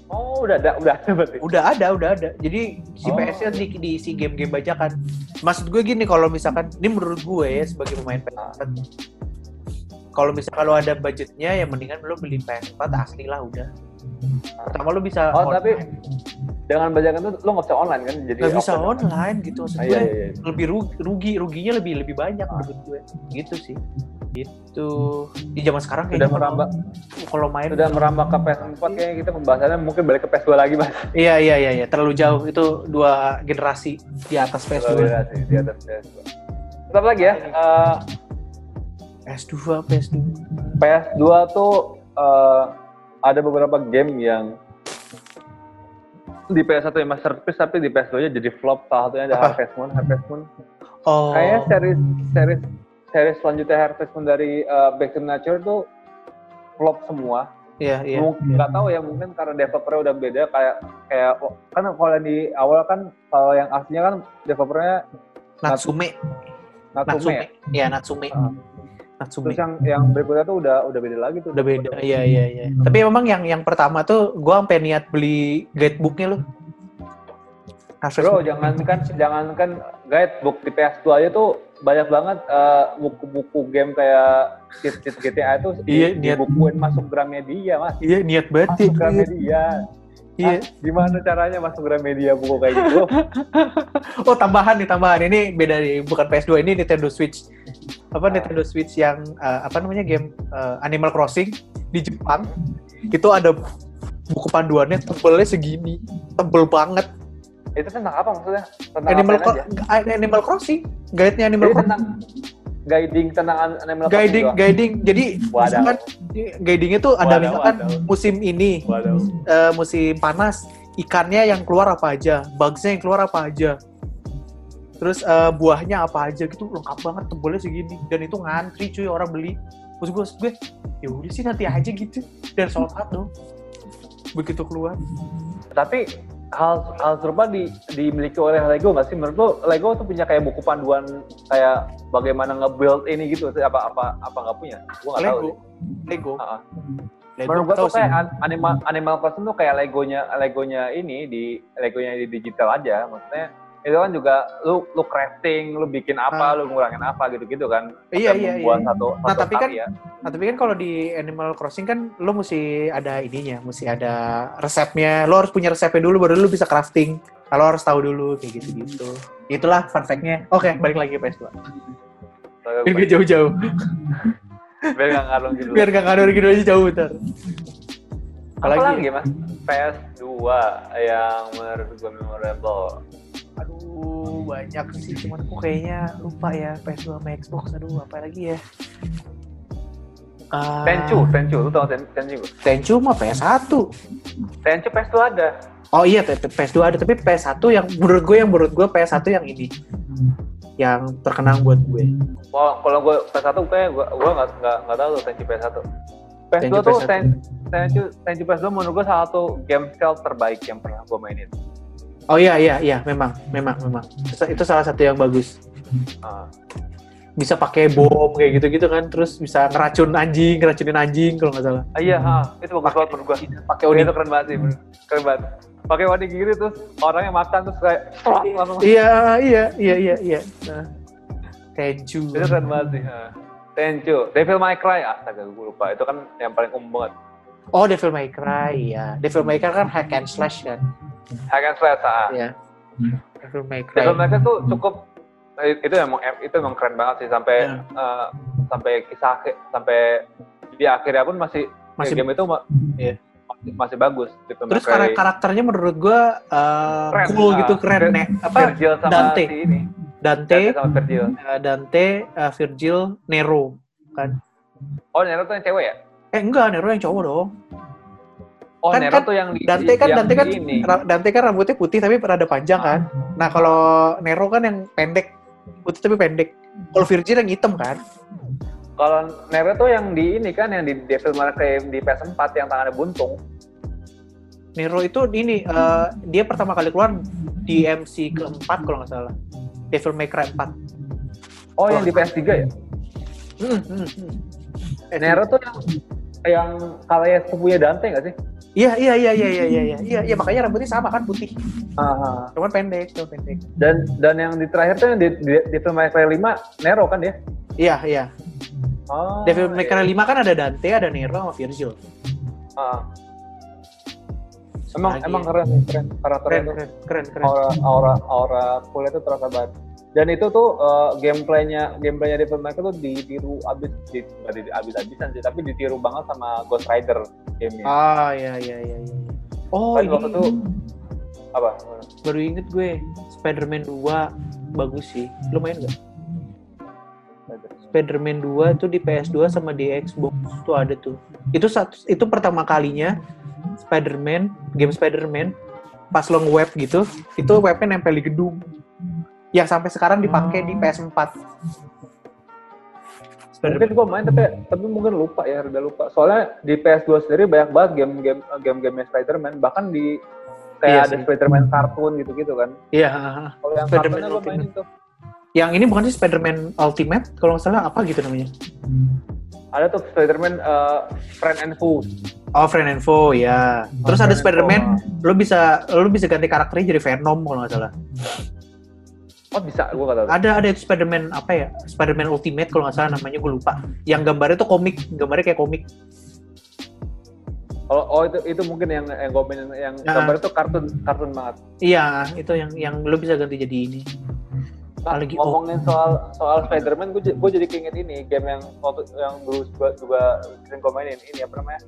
Speaker 2: oh udah ada udah [LAUGHS] ada berarti
Speaker 3: udah ada udah ada jadi si
Speaker 2: Oh.
Speaker 3: PS nya di, diisi game-game bajakan maksud gue gini kalau misalkan ini menurut gue ya sebagai pemain PS kalau misalkan lo ada budgetnya ya mendingan lo beli PS4 asli lah udah pertama lo bisa
Speaker 2: Oh, tapi dengan bajakan itu lo nggak bisa online kan jadi
Speaker 3: nggak bisa
Speaker 2: awkward.
Speaker 3: online gitu maksud
Speaker 2: Ah,
Speaker 3: gue
Speaker 2: iya, iya, iya.
Speaker 3: lebih rugi, rugi ruginya lebih lebih banyak menurut gue gitu sih gitu di zaman sekarang
Speaker 2: Sudah
Speaker 3: kayaknya
Speaker 2: merambah
Speaker 3: kalau- kalau main
Speaker 2: sudah merambah ke PS4 kayaknya kita pembahasannya mungkin balik ke PS2 lagi mas.
Speaker 3: iya iya iya iya. terlalu jauh itu dua generasi di atas PS2
Speaker 2: Iya sih, di atas PS2. Tetap lagi ya, eh,
Speaker 3: PS2 PS2
Speaker 2: PS2 tuh eh, ada beberapa game yang di PS1 yang masterpiece ya, tapi di PS2 nya jadi flop salah satunya ada
Speaker 3: Apa?
Speaker 2: Harvest Moon Harvest Moon
Speaker 3: oh
Speaker 2: kayaknya seri seri seri selanjutnya Harvest Moon dari eh, Back to Nature tuh flop semua
Speaker 3: Iya, iya.
Speaker 2: mungkin nggak tahu ya mungkin karena developernya udah beda kayak kayak kan kalau di awal kan kalau yang aslinya kan developernya
Speaker 3: Natsume,
Speaker 2: Natsume,
Speaker 3: Natsume.
Speaker 2: ya?
Speaker 3: Iya, Natsume.
Speaker 2: Ah.
Speaker 3: Natsume.
Speaker 2: terus yang yang berikutnya tuh udah udah beda lagi tuh
Speaker 3: Udah beda. Iya, iya, iya.
Speaker 2: Hmm.
Speaker 3: Tapi memang yang yang pertama tuh gua sampai niat beli guidebook-nya loh. Harvest
Speaker 2: Bro,
Speaker 3: Moon.
Speaker 2: jangankan jangankan guidebook di PS2 aja tuh banyak banget eh, buku-buku game kayak cheat-cheat GTA itu di-
Speaker 3: Iya, niat-
Speaker 2: dibukuin masuk Gramedia, Mas.
Speaker 3: Iya, niat banget.
Speaker 2: Masuk
Speaker 3: ya.
Speaker 2: Gramedia.
Speaker 3: Iya.
Speaker 2: Ah, gimana caranya masuk Gramedia buku kayak gitu?
Speaker 3: [LAUGHS] Oh, tambahan nih, tambahan. Ini beda nih, bukan PS2, ini Nintendo Switch. Apa
Speaker 2: Ah.
Speaker 3: Nintendo Switch yang eh, apa namanya game eh, Animal Crossing di Jepang. Itu ada buku panduannya tebelnya segini. Tebel banget.
Speaker 2: itu tentang apa maksudnya? Tentang
Speaker 3: Animal,
Speaker 2: apain
Speaker 3: Cro-
Speaker 2: Nah, aja?
Speaker 3: Animal Crossing, guide-nya
Speaker 2: Jadi
Speaker 3: Animal Crossing.
Speaker 2: tentang guiding tentang an- animal gitu. crossing
Speaker 3: guiding
Speaker 2: doang.
Speaker 3: guiding jadi
Speaker 2: Waduh.
Speaker 3: misalkan guidingnya tuh ada
Speaker 2: Waduh,
Speaker 3: misalkan
Speaker 2: waduh.
Speaker 3: musim ini
Speaker 2: Waduh.
Speaker 3: eh, musim panas ikannya yang keluar apa aja bugsnya yang keluar apa aja terus eh, buahnya apa aja gitu lengkap banget tebelnya segini dan itu ngantri cuy orang beli terus gue gue ya udah sih nanti aja gitu dan sold out dong begitu keluar
Speaker 2: Tapi hal hal serupa di, dimiliki oleh Lego nggak sih? Menurut lo Lego tuh punya kayak buku panduan kayak bagaimana nge-build ini gitu apa apa apa nggak punya? Gua nggak tahu. sih.
Speaker 3: Lego Lego
Speaker 2: Ah.
Speaker 3: Lego
Speaker 2: Menurut gua tuh
Speaker 3: tahu sih.
Speaker 2: kayak an- animal animal crossing tuh kayak legonya legonya ini di legonya di digital aja maksudnya itu kan juga lu lu crafting lu bikin apa lu ngurangin apa gitu gitu kan
Speaker 3: Ah. Iya,
Speaker 2: Sampai
Speaker 3: iya,
Speaker 2: membuat
Speaker 3: iya.
Speaker 2: satu
Speaker 3: Nah,
Speaker 2: satu ya.
Speaker 3: tapi kan-
Speaker 2: karya.
Speaker 3: Nah, tapi kan kalau di Animal Crossing kan lo mesti ada ininya, mesti ada resepnya. Lo harus punya resepnya dulu baru lo bisa crafting. Kalau harus tahu dulu kayak gitu-gitu. Itulah fun fact-nya. Oke, balik lagi ke PS2. Biar gak jauh-jauh.
Speaker 2: biar nggak
Speaker 3: [LAUGHS]
Speaker 2: ngarung gitu
Speaker 3: Biar gak ngador gitu aja jauh ntar.
Speaker 2: apalagi
Speaker 3: Apalagi
Speaker 2: ya, mas PS 2 yang menurut gue memorable
Speaker 3: Aduh, banyak sih. Cuman aku kayaknya lupa ya PS2 sama Xbox. Aduh, apa lagi ya? Ah,
Speaker 2: Tenchu Tenchu lu tau Ten- Tenchu nggak?
Speaker 3: Tenchu mah PS1.
Speaker 2: Tenchu PS 2 ada
Speaker 3: Oh iya, P- P- PS2 ada, tapi PS1 yang menurut gue yang menurut gue PS1 yang ini yang terkenang buat gue.
Speaker 2: Wah, kalau gue PS 1 kayak gue gue nggak nggak nggak tahu tuh Tenchu PS 1 PS 2
Speaker 3: Tenchu
Speaker 2: tuh
Speaker 3: PS1.
Speaker 2: Ten, Tenchu Tenchu PS 2 menurut gue salah satu game style terbaik yang pernah gue mainin
Speaker 3: Oh iya iya iya, memang memang memang. Itu- Itu salah satu yang bagus.
Speaker 2: Ah.
Speaker 3: Bisa pakai bom kayak gitu-gitu kan, terus bisa ngeracun anjing, ngeracunin anjing kalau nggak salah.
Speaker 2: Ah, iya, ha, ah, itu bagus banget menurut gua.
Speaker 3: Hmm. Pakai
Speaker 2: Udah
Speaker 3: Oni.
Speaker 2: itu keren banget sih, menurut- keren banget. pakai wanigiri terus orangnya makan terus kayak [LAUGHS] langsung
Speaker 3: Iya, iya, iya, iya, iya. Nah. Tenchu.
Speaker 2: itu keren banget sih. ha. Tenchu, Devil May Cry, astaga gue lupa. Itu kan yang paling umum banget.
Speaker 3: Oh, Devil May Cry, ya. Devil May Cry kan hack and slash kan.
Speaker 2: Hack and slash, ah. ha.
Speaker 3: Iya. Devil May Cry.
Speaker 2: Hmm. Devil May Cry tuh cukup eh, itu emang itu emang keren banget sih sampai
Speaker 1: Iya.
Speaker 2: eh, sampai kisah sampai di akhirnya pun masih
Speaker 3: Masih-
Speaker 2: game itu ma-
Speaker 3: Iya.
Speaker 2: masih, masih bagus gitu, Devil May
Speaker 3: Terus
Speaker 2: Cry.
Speaker 3: kar- karakternya menurut gua uh,
Speaker 2: Keren,
Speaker 3: cool
Speaker 2: ah.
Speaker 3: gitu, keren.
Speaker 2: Keren.
Speaker 3: Nek. Apa?
Speaker 2: Virgil sama
Speaker 3: Dante.
Speaker 2: si ini. Dante
Speaker 3: Dante,
Speaker 2: sama Virgil.
Speaker 3: uh, Dante, uh, Virgil, Nero.
Speaker 2: Oh, Nero tuh yang cewek ya?
Speaker 3: Eh enggak, Nero yang cowok dong.
Speaker 2: Oh,
Speaker 3: Kan-
Speaker 2: Nero
Speaker 3: kan
Speaker 2: tuh yang di-
Speaker 3: Dante kan
Speaker 2: yang Ah.
Speaker 3: Dante kan
Speaker 2: di ini.
Speaker 3: ra- Dante kan rambutnya putih tapi rada panjang kan. Nah, kalau Nero kan yang pendek, putih tapi pendek. Kalau Virgil yang hitam kan.
Speaker 2: Kalau Nero tuh yang di ini kan yang di Devil May Cry di PS4 yang tangannya buntung.
Speaker 3: Nero itu ini eh, dia pertama kali keluar di MC keempat kalau nggak salah. Devil May Cry 4.
Speaker 2: Oh, yang di PS3 ya?
Speaker 3: Hmm, hmm, hmm. Eh,
Speaker 2: Nero tuh yang yang kalanya sepupunya Dante nggak sih?
Speaker 3: Iya iya iya iya iya iya iya iya iya, makanya rambutnya sama kan putih.
Speaker 2: Ah,
Speaker 3: Cuman pendek, cuman pendek.
Speaker 2: dan dan yang di terakhir tuh yang di, di, di Devil May Cry 5 Nero kan dia?
Speaker 3: Iya iya.
Speaker 2: Oh,
Speaker 3: Devil May
Speaker 2: iya.
Speaker 3: Cry 5 kan ada Dante, ada Nero sama Virgil.
Speaker 2: Ah. Emang
Speaker 3: Lagi
Speaker 2: emang
Speaker 3: ya.
Speaker 2: keren keren Oh. karakternya
Speaker 3: Keren
Speaker 2: tuh.
Speaker 3: keren keren keren.
Speaker 2: aura aura aura kuliah itu terasa banget dan itu tuh eh, gameplaynya gameplaynya Devil May Cry tuh ditiru abis di, nggak di- abis-abisan sih tapi ditiru banget sama Ghost Rider gamenya
Speaker 3: Ah iya iya iya iya. Oh,
Speaker 2: Kan
Speaker 3: ini
Speaker 2: waktu itu- apa
Speaker 3: baru inget gue Spider-Man 2 bagus sih. Lu main gak? Spider-Man 2 tuh di PS2 sama di Xbox tuh ada tuh. Itu satu itu pertama kalinya Spider-Man, game Spider-Man pas long web gitu, itu webnya nempel di gedung. Yang sampai sekarang dipakai di PS4.
Speaker 2: mungkin
Speaker 3: Spider-Man.
Speaker 2: gue main tapi tapi mungkin lupa ya udah lupa soalnya di PS2 sendiri banyak banget game game game game Spider-Man bahkan di
Speaker 3: Iya
Speaker 2: kayak ada
Speaker 3: sih.
Speaker 2: Spider-Man kartun gitu-gitu kan
Speaker 3: Iya.
Speaker 2: kalau yang
Speaker 3: Spider-Man
Speaker 2: kartunnya gue mainin tuh
Speaker 3: Yang ini bukan sih Spider-Man Ultimate kalau nggak salah apa gitu namanya?
Speaker 2: ada tuh Spider-Man eh, Friend and Foe
Speaker 3: Oh, Friend and Foe, ya. Terus
Speaker 2: Oh, Friend
Speaker 3: ada
Speaker 2: and
Speaker 3: Spider-Man, lo bisa lo bisa ganti karakternya jadi Venom kalau nggak salah.
Speaker 2: oh bisa gue kata
Speaker 3: ada ada itu Spider-Man apa ya Spider-Man Ultimate kalau nggak salah namanya gue lupa yang gambarnya tuh komik gambarnya kayak komik
Speaker 2: Oh, oh itu itu mungkin yang yang gue mainin yang
Speaker 3: Nah.
Speaker 2: gambar itu kartun kartun banget.
Speaker 3: iya itu yang yang lo bisa ganti jadi ini
Speaker 2: Nah,
Speaker 3: Apalagi- oh.
Speaker 2: ngomongin soal soal Spider-Man, gue gue jadi keinget ini game yang waktu yang dulu juga juga sering gue mainin ini apa namanya?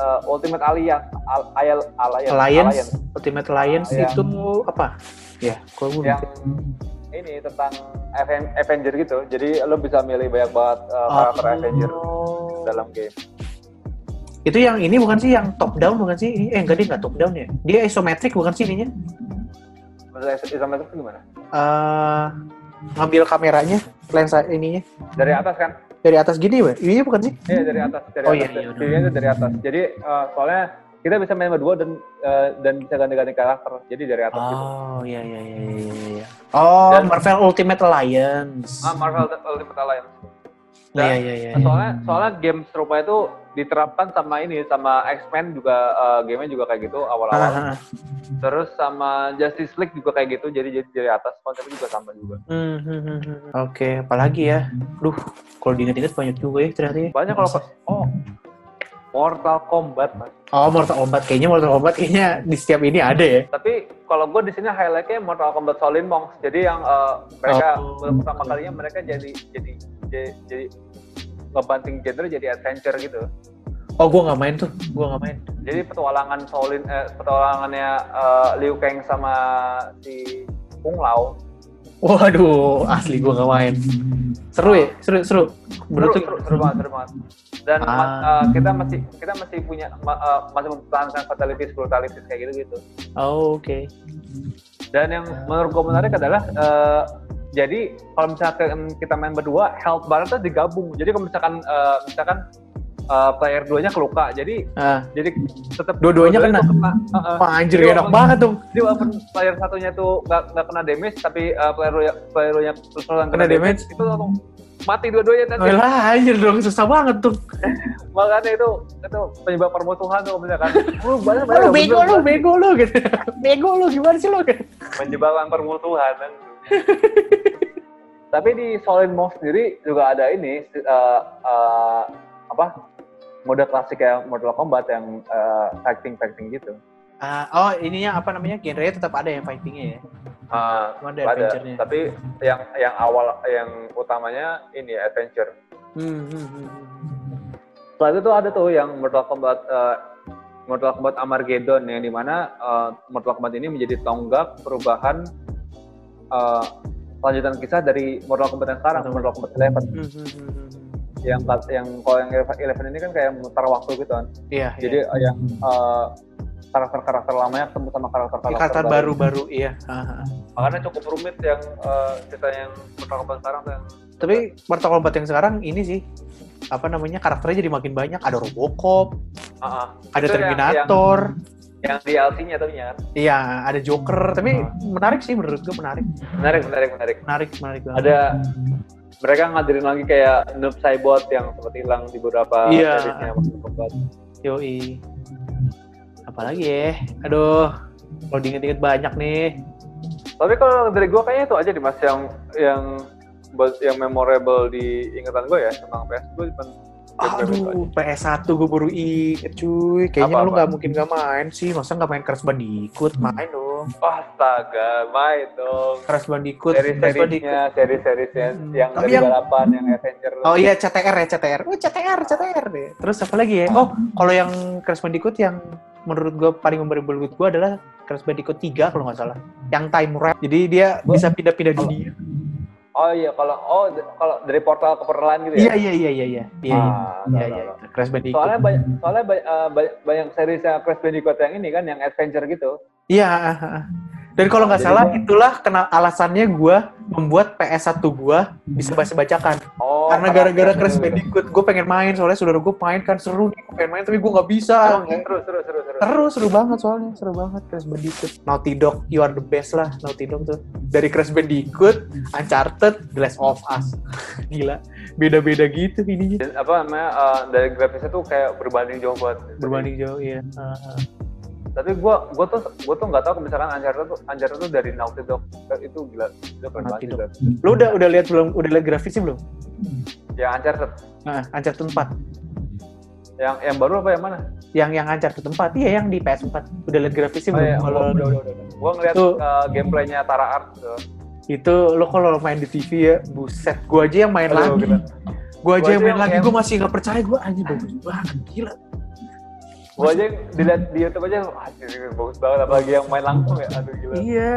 Speaker 2: Eh, Ultimate Alliance, Al, Al, Alliance,
Speaker 3: Alliance, Ultimate Alliance
Speaker 2: Ah, iya.
Speaker 3: itu apa ya kalau gue
Speaker 2: yang ini tentang Aven- Avenger gitu. Jadi lo bisa milih banyak banget
Speaker 3: Oh.
Speaker 2: eh, karakter Avenger dalam game.
Speaker 3: itu yang ini bukan sih yang top down bukan sih ini eh enggak dia nggak top down ya dia isometric bukan sih ininya
Speaker 2: Maksudnya is- isometric itu gimana?
Speaker 3: Eh ngambil kameranya lensa ininya
Speaker 2: Dari atas kan?
Speaker 3: dari atas gini weh ini bukan sih
Speaker 2: Iya dari atas, dari
Speaker 3: Oh,
Speaker 2: atas.
Speaker 3: iya, iya, udah.
Speaker 2: Pilihannya dari atas. Jadi eh, soalnya kita bisa main berdua dan eh, dan bisa ganti-ganti karakter. Jadi dari atas gitu.
Speaker 3: oh iya iya iya iya, iya oh
Speaker 2: Dan-
Speaker 3: Marvel Ultimate Alliance
Speaker 2: Ah, Marvel Ultimate Alliance. Dan-
Speaker 3: iya iya iya iya.
Speaker 2: Soalnya soalnya game serupa itu diterapkan sama ini sama X-Men juga eh, gamenya juga kayak gitu awal-awal.
Speaker 3: Ah, ah, ah.
Speaker 2: Terus sama Justice League juga kayak gitu. Jadi jadi dari atas konsepnya juga sama juga.
Speaker 3: Hmm, hmm, hmm, hmm. Oke, apalagi ya? Duh, kalau diinget-inget banyak juga ya ternyata ya.
Speaker 2: Banyak kalau oh Mortal Kombat mas.
Speaker 3: Oh, Mortal Kombat. Kayaknya Mortal Kombat kayaknya di setiap ini ada ya.
Speaker 2: Tapi kalau gue di sini highlightnya Mortal Kombat Shaolin Monks. Jadi yang eh, mereka
Speaker 3: Oh.
Speaker 2: baru pertama kalinya mereka jadi jadi jadi, jadi ngebanting genre jadi adventure gitu.
Speaker 3: Oh, gua nggak main tuh. Gua nggak main.
Speaker 2: Jadi petualangan Shaolin eh, petualangannya eh, Liu Kang sama si Kung Lao.
Speaker 3: Waduh, asli gua nggak main. Seru ya? Seru, seru.
Speaker 2: Seru,
Speaker 3: Menurut
Speaker 2: seru, seru banget, seru banget. Dan
Speaker 3: Ah.
Speaker 2: ma- eh, kita masih kita masih punya ma- eh, masih mempertahankan fatalities brutalities kayak gitu gitu.
Speaker 3: Oh, oke.
Speaker 2: Dan yang
Speaker 3: Ya.
Speaker 2: menurut gue menarik adalah eh, jadi kalau misalkan kita main berdua, health bar itu digabung. Jadi kalau misalkan eh, misalkan eh, player duanya keluka, jadi
Speaker 3: Ah,
Speaker 2: jadi tetap
Speaker 3: Dua-duanya kena.
Speaker 2: Heeh.
Speaker 3: wah, anjir
Speaker 2: Jadi
Speaker 3: enak
Speaker 2: walaupun-
Speaker 3: banget dong.
Speaker 2: Jadi walaupun player ya, satunya itu nggak nggak kena damage, tapi eh, player duanya- player duanya terus terusan
Speaker 3: Kena damage. Oh, iya,
Speaker 2: itu langsung mati dua-duanya nanti.
Speaker 3: Wah, anjir dong, susah banget tuh.
Speaker 2: Makanya itu itu penyebab permusuhan tuh misalkan.
Speaker 3: [LAUGHS]
Speaker 2: Lu banyak
Speaker 3: Lu bego lu, bego lu gitu. Bego lu gimana sih lu?
Speaker 2: Penyebabkan permusuhan.
Speaker 3: [LAUGHS]
Speaker 2: kan. Tapi di Solid Move sendiri juga ada ini eh, eh, apa mode klasik yang Mortal Kombat yang eh, fighting fighting gitu.
Speaker 3: Ah, oh, ininya apa namanya? Genre tetap ada ya fightingnya ya.
Speaker 2: Ah,
Speaker 3: Cuma ada
Speaker 2: ada.
Speaker 3: adventure-nya.
Speaker 2: Tapi yang yang awal yang utamanya ini ya, adventure.
Speaker 3: Hmm, hmm, hmm, hmm.
Speaker 2: Setelah itu tuh ada tuh yang Mortal Kombat eh, Mortal Kombat Armageddon yang dimana eh, Mortal Kombat ini menjadi tonggak perubahan eh, lanjutan kisah dari Mortal Kombat yang sekarang
Speaker 3: Betul.
Speaker 2: Mortal Kombat Eleven
Speaker 3: Hmm, hmm, hmm, hmm.
Speaker 2: yang kat- yang kalau yang Eleven ini kan kayak mutar waktu gitu kan
Speaker 3: Iya,
Speaker 2: jadi
Speaker 3: jadi
Speaker 2: eh, yang eh, karakter-karakter lamanya ketemu sama karakter-karakter
Speaker 3: ikatan baru-baru iya. Ah, ah.
Speaker 2: makanya cukup rumit yang eh, cerita yang Mortal Kombat sekarang tuh yang
Speaker 3: Tapi Mortal Kombat yang sekarang ini sih apa namanya karakternya jadi makin banyak. Ada Robocop,
Speaker 2: ah, ah.
Speaker 3: ada
Speaker 2: Itu yang-
Speaker 3: Terminator,
Speaker 2: yang, yang DLC-nya tapi ya kan
Speaker 3: iya ada Joker. Tapi
Speaker 2: Ah.
Speaker 3: menarik sih menurut gue menarik,
Speaker 2: menarik menarik menarik
Speaker 3: menarik, menarik banget.
Speaker 2: ada mereka ngadirin lagi kayak Noob Saibot yang sempat hilang di beberapa
Speaker 3: Iya.
Speaker 2: seriesnya Mortal Kombat.
Speaker 3: Yoi. Apalagi ya? Aduh, kalau diinget-inget banyak nih.
Speaker 2: Tapi kalau dari gue kayaknya itu aja deh mas yang yang buat- yang memorable di ingatan gue ya tentang PS gue cuma
Speaker 3: Aduh, PS1 gue baru inget cuy. Kayaknya
Speaker 2: Apa-apa?
Speaker 3: lu nggak mungkin nggak main sih. Masa nggak main Crash Bandicoot? Main dong.
Speaker 2: astaga main dong
Speaker 3: Crash Bandicoot. Crash Bandicoot.
Speaker 2: seri-serinya seri-serinya
Speaker 3: Hmm.
Speaker 2: yang
Speaker 3: Tapi
Speaker 2: dari
Speaker 3: yang-
Speaker 2: balapan yang adventure
Speaker 3: Oh iya, CTR ya, CTR. Oh, CTR, CTR deh. Terus apa lagi ya? Oh, kalau yang Crash Bandicoot yang menurut gue paling memorable buat gue adalah Crash Bandicoot 3 kalau nggak salah. Yang time wrap. Jadi dia
Speaker 2: Gua-
Speaker 3: bisa pindah-pindah
Speaker 2: Kalau-
Speaker 3: dunia.
Speaker 2: oh iya kalau oh d- kalau dari portal ke portalan gitu ya
Speaker 3: Iya, iya, iya, iya, iya. Iya, iya.
Speaker 2: Ah,
Speaker 3: Iya,
Speaker 2: enggak,
Speaker 3: iya.
Speaker 2: enggak,
Speaker 3: Crash Bandicoot.
Speaker 2: soalnya banyak soalnya banyak, eh, banyak, banyak seri Crash Bandicoot yang ini kan yang adventure gitu
Speaker 3: Iya. ah, ah, ah. Dan kalau nggak
Speaker 2: Jadi
Speaker 3: salah
Speaker 2: gua-
Speaker 3: itulah kena alasannya gua membuat PS1 gua bisa baca bacakan.
Speaker 2: oh
Speaker 3: Karena gara-gara Crash
Speaker 2: gitu.
Speaker 3: Bandicoot gue pengen main soalnya saudara gue main kan seru nih gue pengen main tapi gue nggak bisa.
Speaker 2: seru seru seru seru
Speaker 3: Seru, seru banget soalnya, seru banget Crash Bandicoot. Naughty Dog, you are the best lah Naughty Dog tuh. Dari Crash Bandicoot, Uncharted, The Last of Us. [LAUGHS] Gila, beda-beda gitu ininya.
Speaker 2: Dan apa namanya eh, dari grafisnya tuh kayak berbanding jauh buat
Speaker 3: Berbanding jauh, iya. Ah, ah.
Speaker 2: tapi gua gua tuh gua tuh nggak tahu misalkan Uncharted tuh Uncharted tuh dari Naughty Dog itu gila itu keren banget
Speaker 3: Naughty Dog.
Speaker 2: juga
Speaker 3: Lu udah udah lihat belum? Udah lihat grafisnya belum?
Speaker 2: yang Uncharted
Speaker 3: Nah, Uncharted 4.
Speaker 2: yang yang baru apa yang mana
Speaker 3: yang yang ancar ke tempat iya yang di PS4 udah liat grafisnya
Speaker 2: Oh,
Speaker 3: belum
Speaker 2: iya.
Speaker 3: kalau
Speaker 2: Oh, udah, udah, udah. gua ngeliat
Speaker 3: Tuh.
Speaker 2: eh, gameplaynya Tara Art tuh.
Speaker 3: itu lo kalau main di TV ya buset gua aja yang main
Speaker 2: Aduh,
Speaker 3: lagi
Speaker 2: gila.
Speaker 3: gua aja
Speaker 2: Gua
Speaker 3: yang
Speaker 2: aja
Speaker 3: main
Speaker 2: yang-
Speaker 3: lagi
Speaker 2: yang-
Speaker 3: gua masih nggak percaya gua anjir bagus banget gila
Speaker 2: gua aja yang dilihat di YouTube aja anjir bagus banget apalagi yang main langsung ya aduh gila
Speaker 3: iya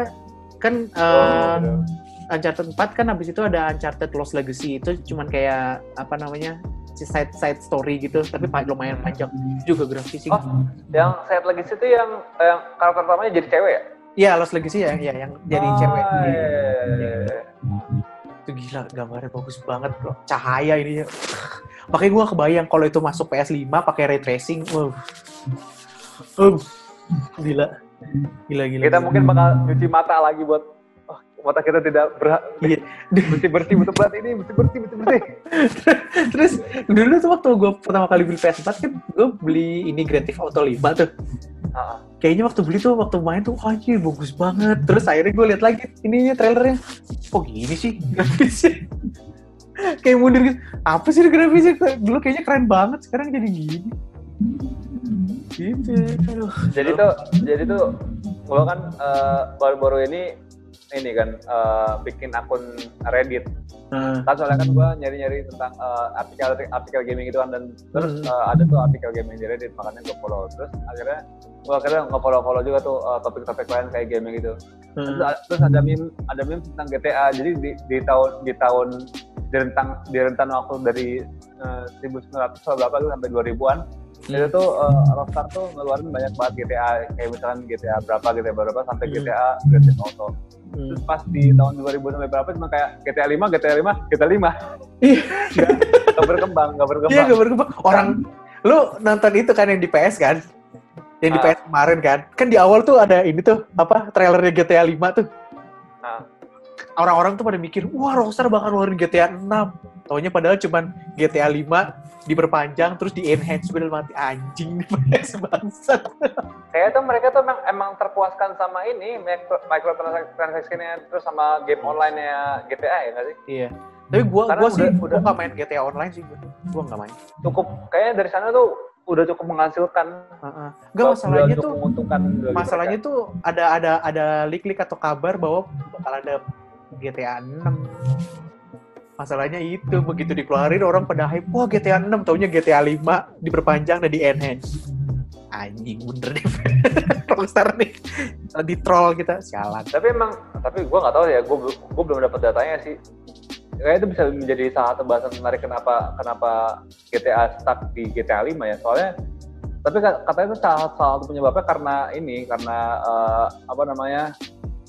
Speaker 3: kan
Speaker 2: Oh,
Speaker 3: eh,
Speaker 2: udah.
Speaker 3: Uncharted 4 kan habis itu ada Uncharted Lost Legacy itu cuman kayak apa namanya si side side story gitu tapi pa- lumayan panjang juga grafisnya
Speaker 2: Hmm. Oh, yang saya lagi situ yang yang karakter utamanya jadi cewek ya?
Speaker 3: iya Lost Legacy ya, ya yang jadi cewek
Speaker 2: Oh,
Speaker 3: Iya.
Speaker 2: iya, iya, iya, iya.
Speaker 3: itu gila gambarnya bagus banget bro cahaya ini ya [LAUGHS] makanya gue kebayang kalau itu masuk PS5 pakai ray tracing wow wow gila gila gila
Speaker 2: kita mungkin bakal cuci mata lagi buat oh, mata kita tidak berhak
Speaker 3: Iya.
Speaker 2: bersih bersih butuh berat ini bersih bersih bersih bersih
Speaker 3: terus dulu tuh waktu gue pertama kali beli PS4 kan gue beli ini Grand Theft Auto 5 tuh
Speaker 2: Ah,
Speaker 3: kayaknya waktu beli tuh waktu main tuh anjir bagus banget terus akhirnya gue lihat lagi ininya trailernya kok gini sih [LAUGHS] grafisnya kayak mundur gitu apa sih grafisnya dulu kayaknya keren banget sekarang jadi gini gitu aduh
Speaker 2: jadi tuh jadi tuh gua kan eh, baru-baru ini ini kan eh, bikin akun Reddit
Speaker 3: Nah,
Speaker 2: kan soalnya kan gua nyari-nyari tentang eh, artikel artikel gaming gitu kan dan terus
Speaker 3: Hmm.
Speaker 2: eh, ada tuh artikel gaming di Reddit makanya gua follow terus akhirnya gua akhirnya nge-follow-follow juga tuh eh, topik-topik lain kayak gaming gitu terus, a-
Speaker 3: nah,
Speaker 2: terus ada meme ada meme tentang GTA jadi di, di tahun di tahun di rentang di rentan waktu dari eh, 1900 atau berapa gitu sampai 2000-an
Speaker 3: Hmm.
Speaker 2: itu tuh eh, Rockstar tuh ngeluarin banyak banget GTA kayak misalkan GTA berapa GTA berapa sampai
Speaker 3: Hmm.
Speaker 2: GTA Grand Theft Auto
Speaker 3: hmm.
Speaker 2: terus pas di tahun 2000 sampai berapa cuma kayak GTA 5 GTA 5 GTA 5
Speaker 3: Ih.
Speaker 2: Nggak- Iya. nggak berkembang nggak
Speaker 3: Iya
Speaker 2: berkembang
Speaker 3: gambar gambar orang lu nonton itu kan yang di PS kan yang di
Speaker 2: Ah.
Speaker 3: PS kemarin kan kan di awal tuh ada ini tuh apa trailernya GTA 5 tuh
Speaker 2: Ah.
Speaker 3: orang-orang tuh pada mikir wah Rockstar bakal ngeluarin GTA 6 Taunya padahal cuman GTA 5 diperpanjang terus di enhance bener mati anjing [LAUGHS] sebangsat.
Speaker 2: Kayak tuh mereka tuh emang, emang terpuaskan sama ini micro, microtransaction-nya terus sama game online-nya GTA ya nggak sih?
Speaker 3: Iya. Tapi gua
Speaker 2: Karena
Speaker 3: gua sih
Speaker 2: udah-
Speaker 3: gua
Speaker 2: udah-
Speaker 3: nggak main GTA online sih gua. Gua nggak main.
Speaker 2: Cukup kayaknya dari sana tuh udah cukup menghasilkan.
Speaker 3: Heeh. Nggak, masalahnya
Speaker 2: Udah
Speaker 3: tuh
Speaker 2: cukup menguntungkan bagi
Speaker 3: masalahnya
Speaker 2: mereka.
Speaker 3: tuh ada ada ada leak-leak atau kabar bahwa bakal ada GTA 6 masalahnya itu begitu dikeluarin orang pada hype wah GTA 6 taunya GTA 5 diperpanjang dan di enhance anjing bener [LAUGHS] nih Rockstar nih di troll kita sialan
Speaker 2: tapi emang tapi gue nggak tahu ya gue gue belum dapat datanya sih kayaknya itu bisa menjadi salah satu bahasan menarik kenapa kenapa GTA stuck di GTA 5 ya soalnya tapi ka- katanya itu salah, salah satu penyebabnya karena ini karena eh, apa namanya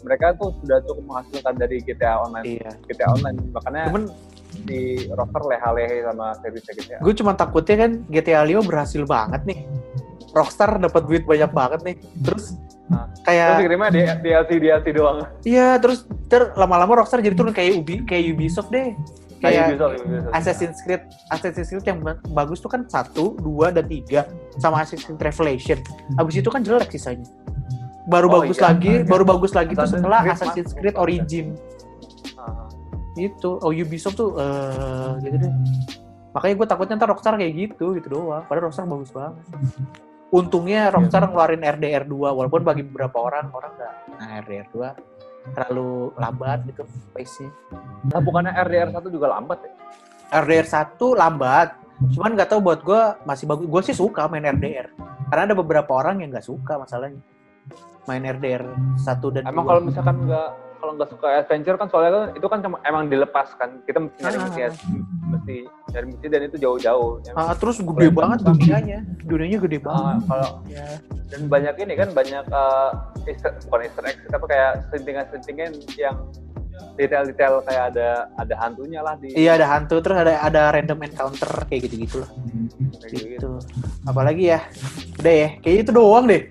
Speaker 2: mereka tuh sudah cukup menghasilkan dari GTA online
Speaker 3: iya
Speaker 2: GTA online makanya
Speaker 3: cuman
Speaker 2: di roster leha-lehe sama series GTA
Speaker 3: gue cuma takutnya kan GTA 5 berhasil banget nih Rockstar dapat duit banyak banget nih terus
Speaker 2: Nah, terus
Speaker 3: kayak
Speaker 2: dikirimnya di DLC DLC doang
Speaker 3: iya terus ter lama-lama Rockstar jadi turun kayak Ubi kayak Ubisoft deh
Speaker 2: Kayak gitu.
Speaker 3: kayak
Speaker 2: Ubisoft, Ubisoft.
Speaker 3: Assassin's Creed Assassin's Creed yang ba- bagus tuh kan satu, dua, dan tiga sama Assassin's Creed Revelation. Abis itu kan jelek sisanya. Baru
Speaker 2: Oh,
Speaker 3: bagus
Speaker 2: iya.
Speaker 3: lagi,
Speaker 2: Iya.
Speaker 3: baru bagus lagi tuh
Speaker 2: Assassin's
Speaker 3: setelah
Speaker 2: Creed
Speaker 3: Assassin's
Speaker 2: masuk.
Speaker 3: Creed Origin
Speaker 2: Ah.
Speaker 3: gitu. Oh Ubisoft tuh eh gitu deh. Makanya gue takutnya ntar Rockstar kayak gitu gitu doang. Padahal Rockstar bagus banget.
Speaker 2: Iya.
Speaker 3: Untungnya Rockstar ngeluarin RDR 2 walaupun bagi beberapa orang orang nggak nah RDR 2 terlalu lambat gitu pace-nya.
Speaker 2: Nah, bukannya RDR 1 juga lambat ya?
Speaker 3: RDR 1 lambat. Cuman nggak tahu buat gue masih bagus. Gue sih suka main RDR. Karena ada beberapa orang yang nggak suka masalahnya. Main RDR 1 dan
Speaker 2: Emang
Speaker 3: dua.
Speaker 2: kalau misalkan nggak kalau nggak suka adventure kan soalnya kan itu kan cuma emang dilepas kan kita mesti nyari
Speaker 3: Ah.
Speaker 2: misi mesti nyari misi dan itu jauh-jauh. Ya.
Speaker 3: Ah, terus gede banget dunianya. Dunianya gede
Speaker 2: Ah,
Speaker 3: banget.
Speaker 2: kalau
Speaker 3: Ya.
Speaker 2: dan banyak ini kan banyak eh, Easter, bukan Easter egg sih, tapi kayak sentingan-sentingan yang detail-detail kayak ada ada hantunya lah di
Speaker 3: Iya ada hantu terus ada ada random encounter kayak gitu-gitu lah.
Speaker 2: kayak gitu.
Speaker 3: Gitu. Apalagi ya. Udah ya. Kayaknya itu doang deh.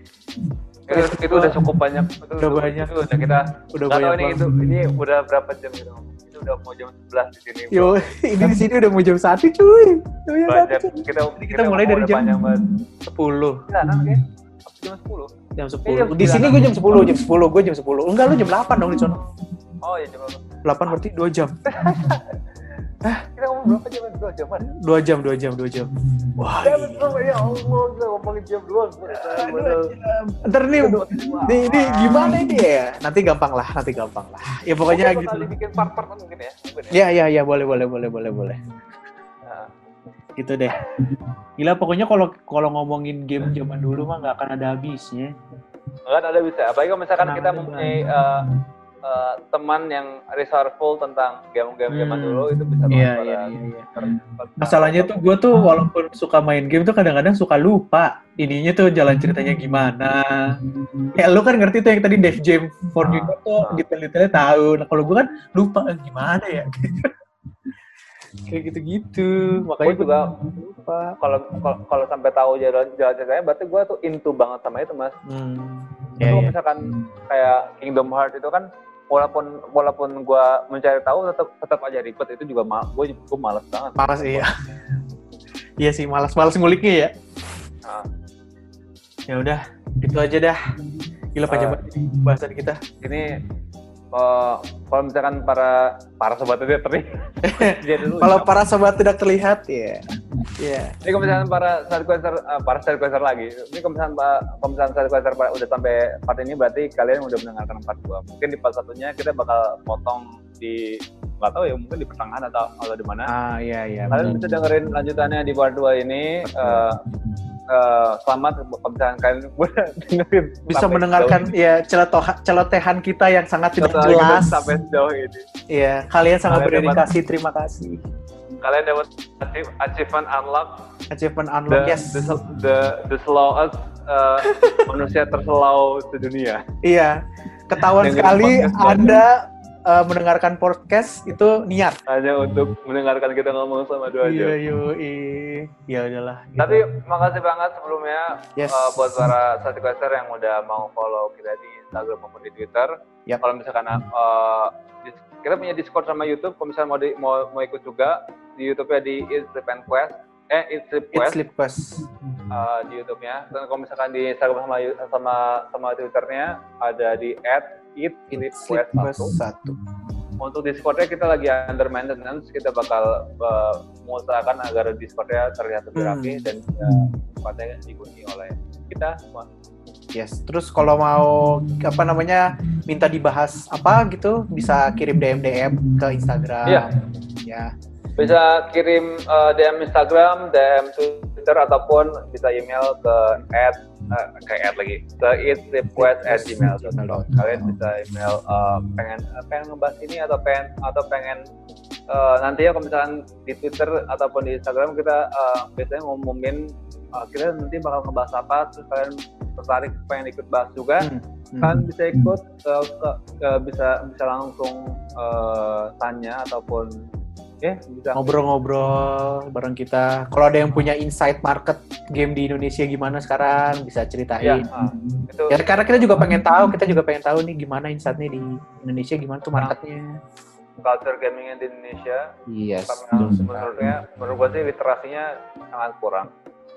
Speaker 2: Itu, itu udah cukup banyak itu
Speaker 3: Udah banyak.
Speaker 2: itu udah kita
Speaker 3: Udah
Speaker 2: nggak tahu ini
Speaker 3: banyak
Speaker 2: itu
Speaker 3: banget.
Speaker 2: ini udah berapa jam gitu itu udah mau jam 11 di sini
Speaker 3: Yo, [LAUGHS] ini di sini udah mau jam satu cuy. ya, Udah jam
Speaker 2: banyak
Speaker 3: satu, cuy.
Speaker 2: kita
Speaker 3: kita mulai dari
Speaker 2: udah
Speaker 3: jam-
Speaker 2: panjang banget.
Speaker 3: 10.
Speaker 2: 9 oke jam 10
Speaker 3: Jam
Speaker 2: Iya,
Speaker 3: 10. Di sini gue jam 10, jam 10, gue jam 10. Enggak lu jam 8 dong di sana.
Speaker 2: Oh iya jam berapa?
Speaker 3: 8 berarti 2 jam.
Speaker 2: Kita ngomong berapa jam? Dua jam kan?
Speaker 3: 2 jam, 2 jam, 2 jam. Wah.
Speaker 2: Ya betul ya Allah kita ngomongin jam dua.
Speaker 3: Ntar nih, ini, ini gimana ini ya? Nanti gampang lah, nanti gampang lah. Ya pokoknya
Speaker 2: Pokoknya
Speaker 3: gitu.
Speaker 2: bakal bikin part-part mungkin ya. mungkin ya.
Speaker 3: Ya, ya, ya, boleh, boleh, boleh, boleh, boleh.
Speaker 2: Nah,
Speaker 3: Gitu deh. Gila, pokoknya kalau kalau ngomongin game zaman dulu mah nggak akan ada habisnya.
Speaker 2: Nggak Nah, kan ada bisa. Apalagi kalau misalkan
Speaker 3: Kenapa
Speaker 2: kita
Speaker 3: ada
Speaker 2: mempunyai eh, eh, teman yang resourceful tentang game-game zaman
Speaker 3: Hmm.
Speaker 2: dulu itu bisa
Speaker 3: Iya,
Speaker 2: banget
Speaker 3: iya,
Speaker 2: para-
Speaker 3: iya, iya.
Speaker 2: per- per-
Speaker 3: Masalahnya tuh gue tuh walaupun suka main game tuh kadang-kadang suka lupa ininya tuh jalan ceritanya gimana. Ya lu kan ngerti tuh yang tadi Def Jam for You tuh detail-detailnya tahu. Nah kalau gue kan lupa eh, gimana [LAUGHS] ya. Kayak gitu-gitu. Makanya
Speaker 2: Gua
Speaker 3: gue
Speaker 2: juga-
Speaker 3: lupa.
Speaker 2: kalau kalau- kalau sampai tahu jalan jalan ceritanya berarti gue tuh into banget sama itu mas.
Speaker 3: Hmm.
Speaker 2: Tapi kalau misalkan kayak Kingdom Hearts itu kan walaupun walaupun gua mencari tahu tetap tetap aja ribet itu juga mal gue gue malas banget
Speaker 3: Malas iya. [LAUGHS] iya sih malas-malas nguliknya ya.
Speaker 2: Ah.
Speaker 3: Ya udah, itu aja dah. Gila panjang
Speaker 2: Ah.
Speaker 3: banget ini bahasan kita.
Speaker 2: ini eh, kalau misalkan para para sobat itu
Speaker 3: [LAUGHS]
Speaker 2: teri dia dulu
Speaker 3: Kalau para sobat tidak terlihat ya. Iya.
Speaker 2: ini kalau misalkan para sidequester eh, para sidequester lagi ini kalau misalkan pa- kalau misalkan sidequester pa- udah sampai part ini berarti kalian udah mendengarkan part dua mungkin di part satunya kita bakal potong di nggak tahu ya mungkin di pertengahan atau atau di mana
Speaker 3: Ah iya iya.
Speaker 2: kalian
Speaker 3: benar.
Speaker 2: bisa dengerin lanjutannya di part 2 ini Eh, eh, selamat kalau misalkan kalian [LAUGHS] udah dengerin
Speaker 3: Bisa
Speaker 2: sampai
Speaker 3: mendengarkan ya celotoha- celotehan kita yang sangat
Speaker 2: sejauh-
Speaker 3: tidak
Speaker 2: sejauh-
Speaker 3: jelas.
Speaker 2: sampai sejauh ini
Speaker 3: Iya, kalian sangat
Speaker 2: Kalian dapat-
Speaker 3: berdedikasi. Terima kasih.
Speaker 2: kalian dapat achieve- achievement unlock
Speaker 3: Achievement
Speaker 2: the
Speaker 3: unlock. yes.
Speaker 2: the, the, the slowest
Speaker 3: [LAUGHS]
Speaker 2: eh, manusia terselau sedunia
Speaker 3: Iya. Ketahuan
Speaker 2: Dengerin
Speaker 3: sekali
Speaker 2: podcast baru.
Speaker 3: Anda eh, mendengarkan podcast itu niat.
Speaker 2: hanya untuk mendengarkan kita ngomong sama dua
Speaker 3: Iya,
Speaker 2: jam
Speaker 3: yoi. Ya udahlah. gitu.
Speaker 2: tapi makasih banget sebelumnya
Speaker 3: Yes.
Speaker 2: eh, buat para sidequester yang udah mau follow kita di Instagram maupun di Twitter
Speaker 3: Yap.
Speaker 2: kalau misalkan eh, di- kita punya Discord sama YouTube kalau misalnya mau di- mau, mau ikut juga di YouTube-nya di It's Sleep and Quest eh It's Sleep
Speaker 3: It's
Speaker 2: Quest
Speaker 3: Sleep Quest.
Speaker 2: eh, di YouTube-nya dan kalau misalkan di Instagram sama Yu- sama sama Twitter-nya ada di
Speaker 3: It's Sleep Quest
Speaker 2: 1
Speaker 3: satu.
Speaker 2: untuk Discord-nya kita lagi under maintenance, kita bakal eh, mengusahakan agar Discord-nya terlihat lebih
Speaker 3: Hmm.
Speaker 2: rapi dan eh, tempatnya dikunci oleh kita semua.
Speaker 3: Yes. Terus kalau mau apa namanya minta dibahas apa gitu bisa kirim DM DM ke Instagram.
Speaker 2: Iya.
Speaker 3: Ya.
Speaker 2: Bisa kirim eh, DM Instagram, DM Twitter ataupun bisa email ke at eh, ke at lagi ke itrequest@gmail.com. Kalian bisa email eh, pengen pengen ngebahas ini atau pengen atau pengen eh, nanti ya kalau misalkan di Twitter ataupun di Instagram kita eh, biasanya ngumumin eh, kita nanti bakal ngebahas apa terus kalian tertarik pengen ikut bahas juga
Speaker 3: Hmm, hmm.
Speaker 2: kan bisa ikut eh, ke- ke- bisa bisa langsung eh, tanya ataupun ya bisa
Speaker 3: ngobrol-ngobrol bareng kita. Kalau ada yang punya insight market game di Indonesia gimana sekarang bisa
Speaker 2: ya,
Speaker 3: ceritain.
Speaker 2: ah, itu
Speaker 3: Iya. Ya karena kita juga pengen tahu, kita juga pengen tahu nih gimana insightnya di Indonesia gimana tuh marketnya.
Speaker 2: culture gamingnya di Indonesia
Speaker 3: Yes.
Speaker 2: karena
Speaker 3: Hmm.
Speaker 2: menurutnya menurut gue sih literasinya sangat kurang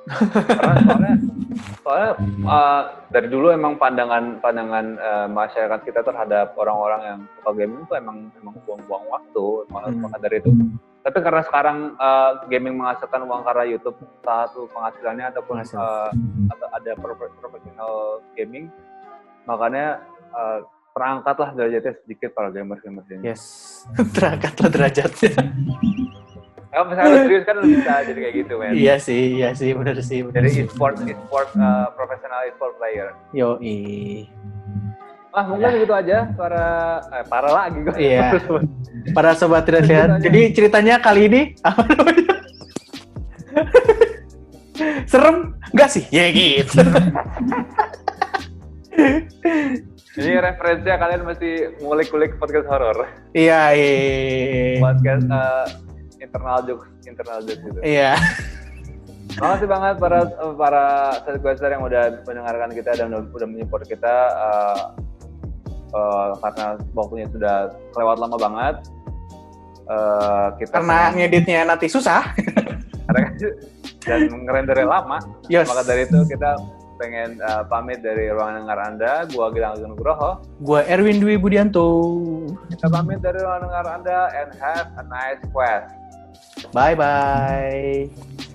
Speaker 2: karena soalnya soalnya uh, dari dulu emang pandangan pandangan uh, masyarakat kita terhadap orang-orang yang suka gaming itu emang emang buang-buang waktu malah
Speaker 3: Hmm.
Speaker 2: maka dari itu tapi karena sekarang uh, gaming menghasilkan uang karena YouTube salah satu penghasilannya ataupun
Speaker 3: Penghasilan.
Speaker 2: uh, atau ada profe- profesional gaming makanya uh, terangkatlah derajatnya sedikit para gamers gamers ini.
Speaker 3: Yes. [LAUGHS] Terangkatlah derajatnya.
Speaker 2: Kalau misalnya lu serius kan lu bisa jadi kayak gitu men.
Speaker 3: iya sih, iya sih, benar sih. Bener
Speaker 2: Jadi
Speaker 3: sih.
Speaker 2: e-sport, e-sport uh, profesional e-sport player.
Speaker 3: Yo,
Speaker 2: Ah mungkin gitu aja para eh, para lagi kok. [LAUGHS]
Speaker 3: Iya. Para sobat tidak
Speaker 2: Lanjut
Speaker 3: sehat.
Speaker 2: aja.
Speaker 3: Jadi ceritanya kali ini [LAUGHS] apa namanya? Serem nggak sih? Ya gitu.
Speaker 2: Ini referensinya kalian mesti ngulik-ngulik podcast horor,
Speaker 3: Iya, iya.
Speaker 2: podcast uh, internal jokes, internal jokes gitu.
Speaker 3: Iya.
Speaker 2: Makasih banget para para sequencer yang udah mendengarkan kita dan udah, udah menyupport kita eh, eh, karena waktunya sudah lewat lama banget. Eh, kita
Speaker 3: Karena ngeditnya nanti susah.
Speaker 2: [LAUGHS] dan ngerendernya lama.
Speaker 3: Yos.
Speaker 2: Maka dari itu kita pengen uh, pamit dari ruangan dengar Anda. Gua Gilang Agung Nugroho.
Speaker 3: Gua Erwin Dwi Budianto.
Speaker 2: Kita pamit dari ruangan dengar Anda and have a nice quest.
Speaker 3: Bye bye.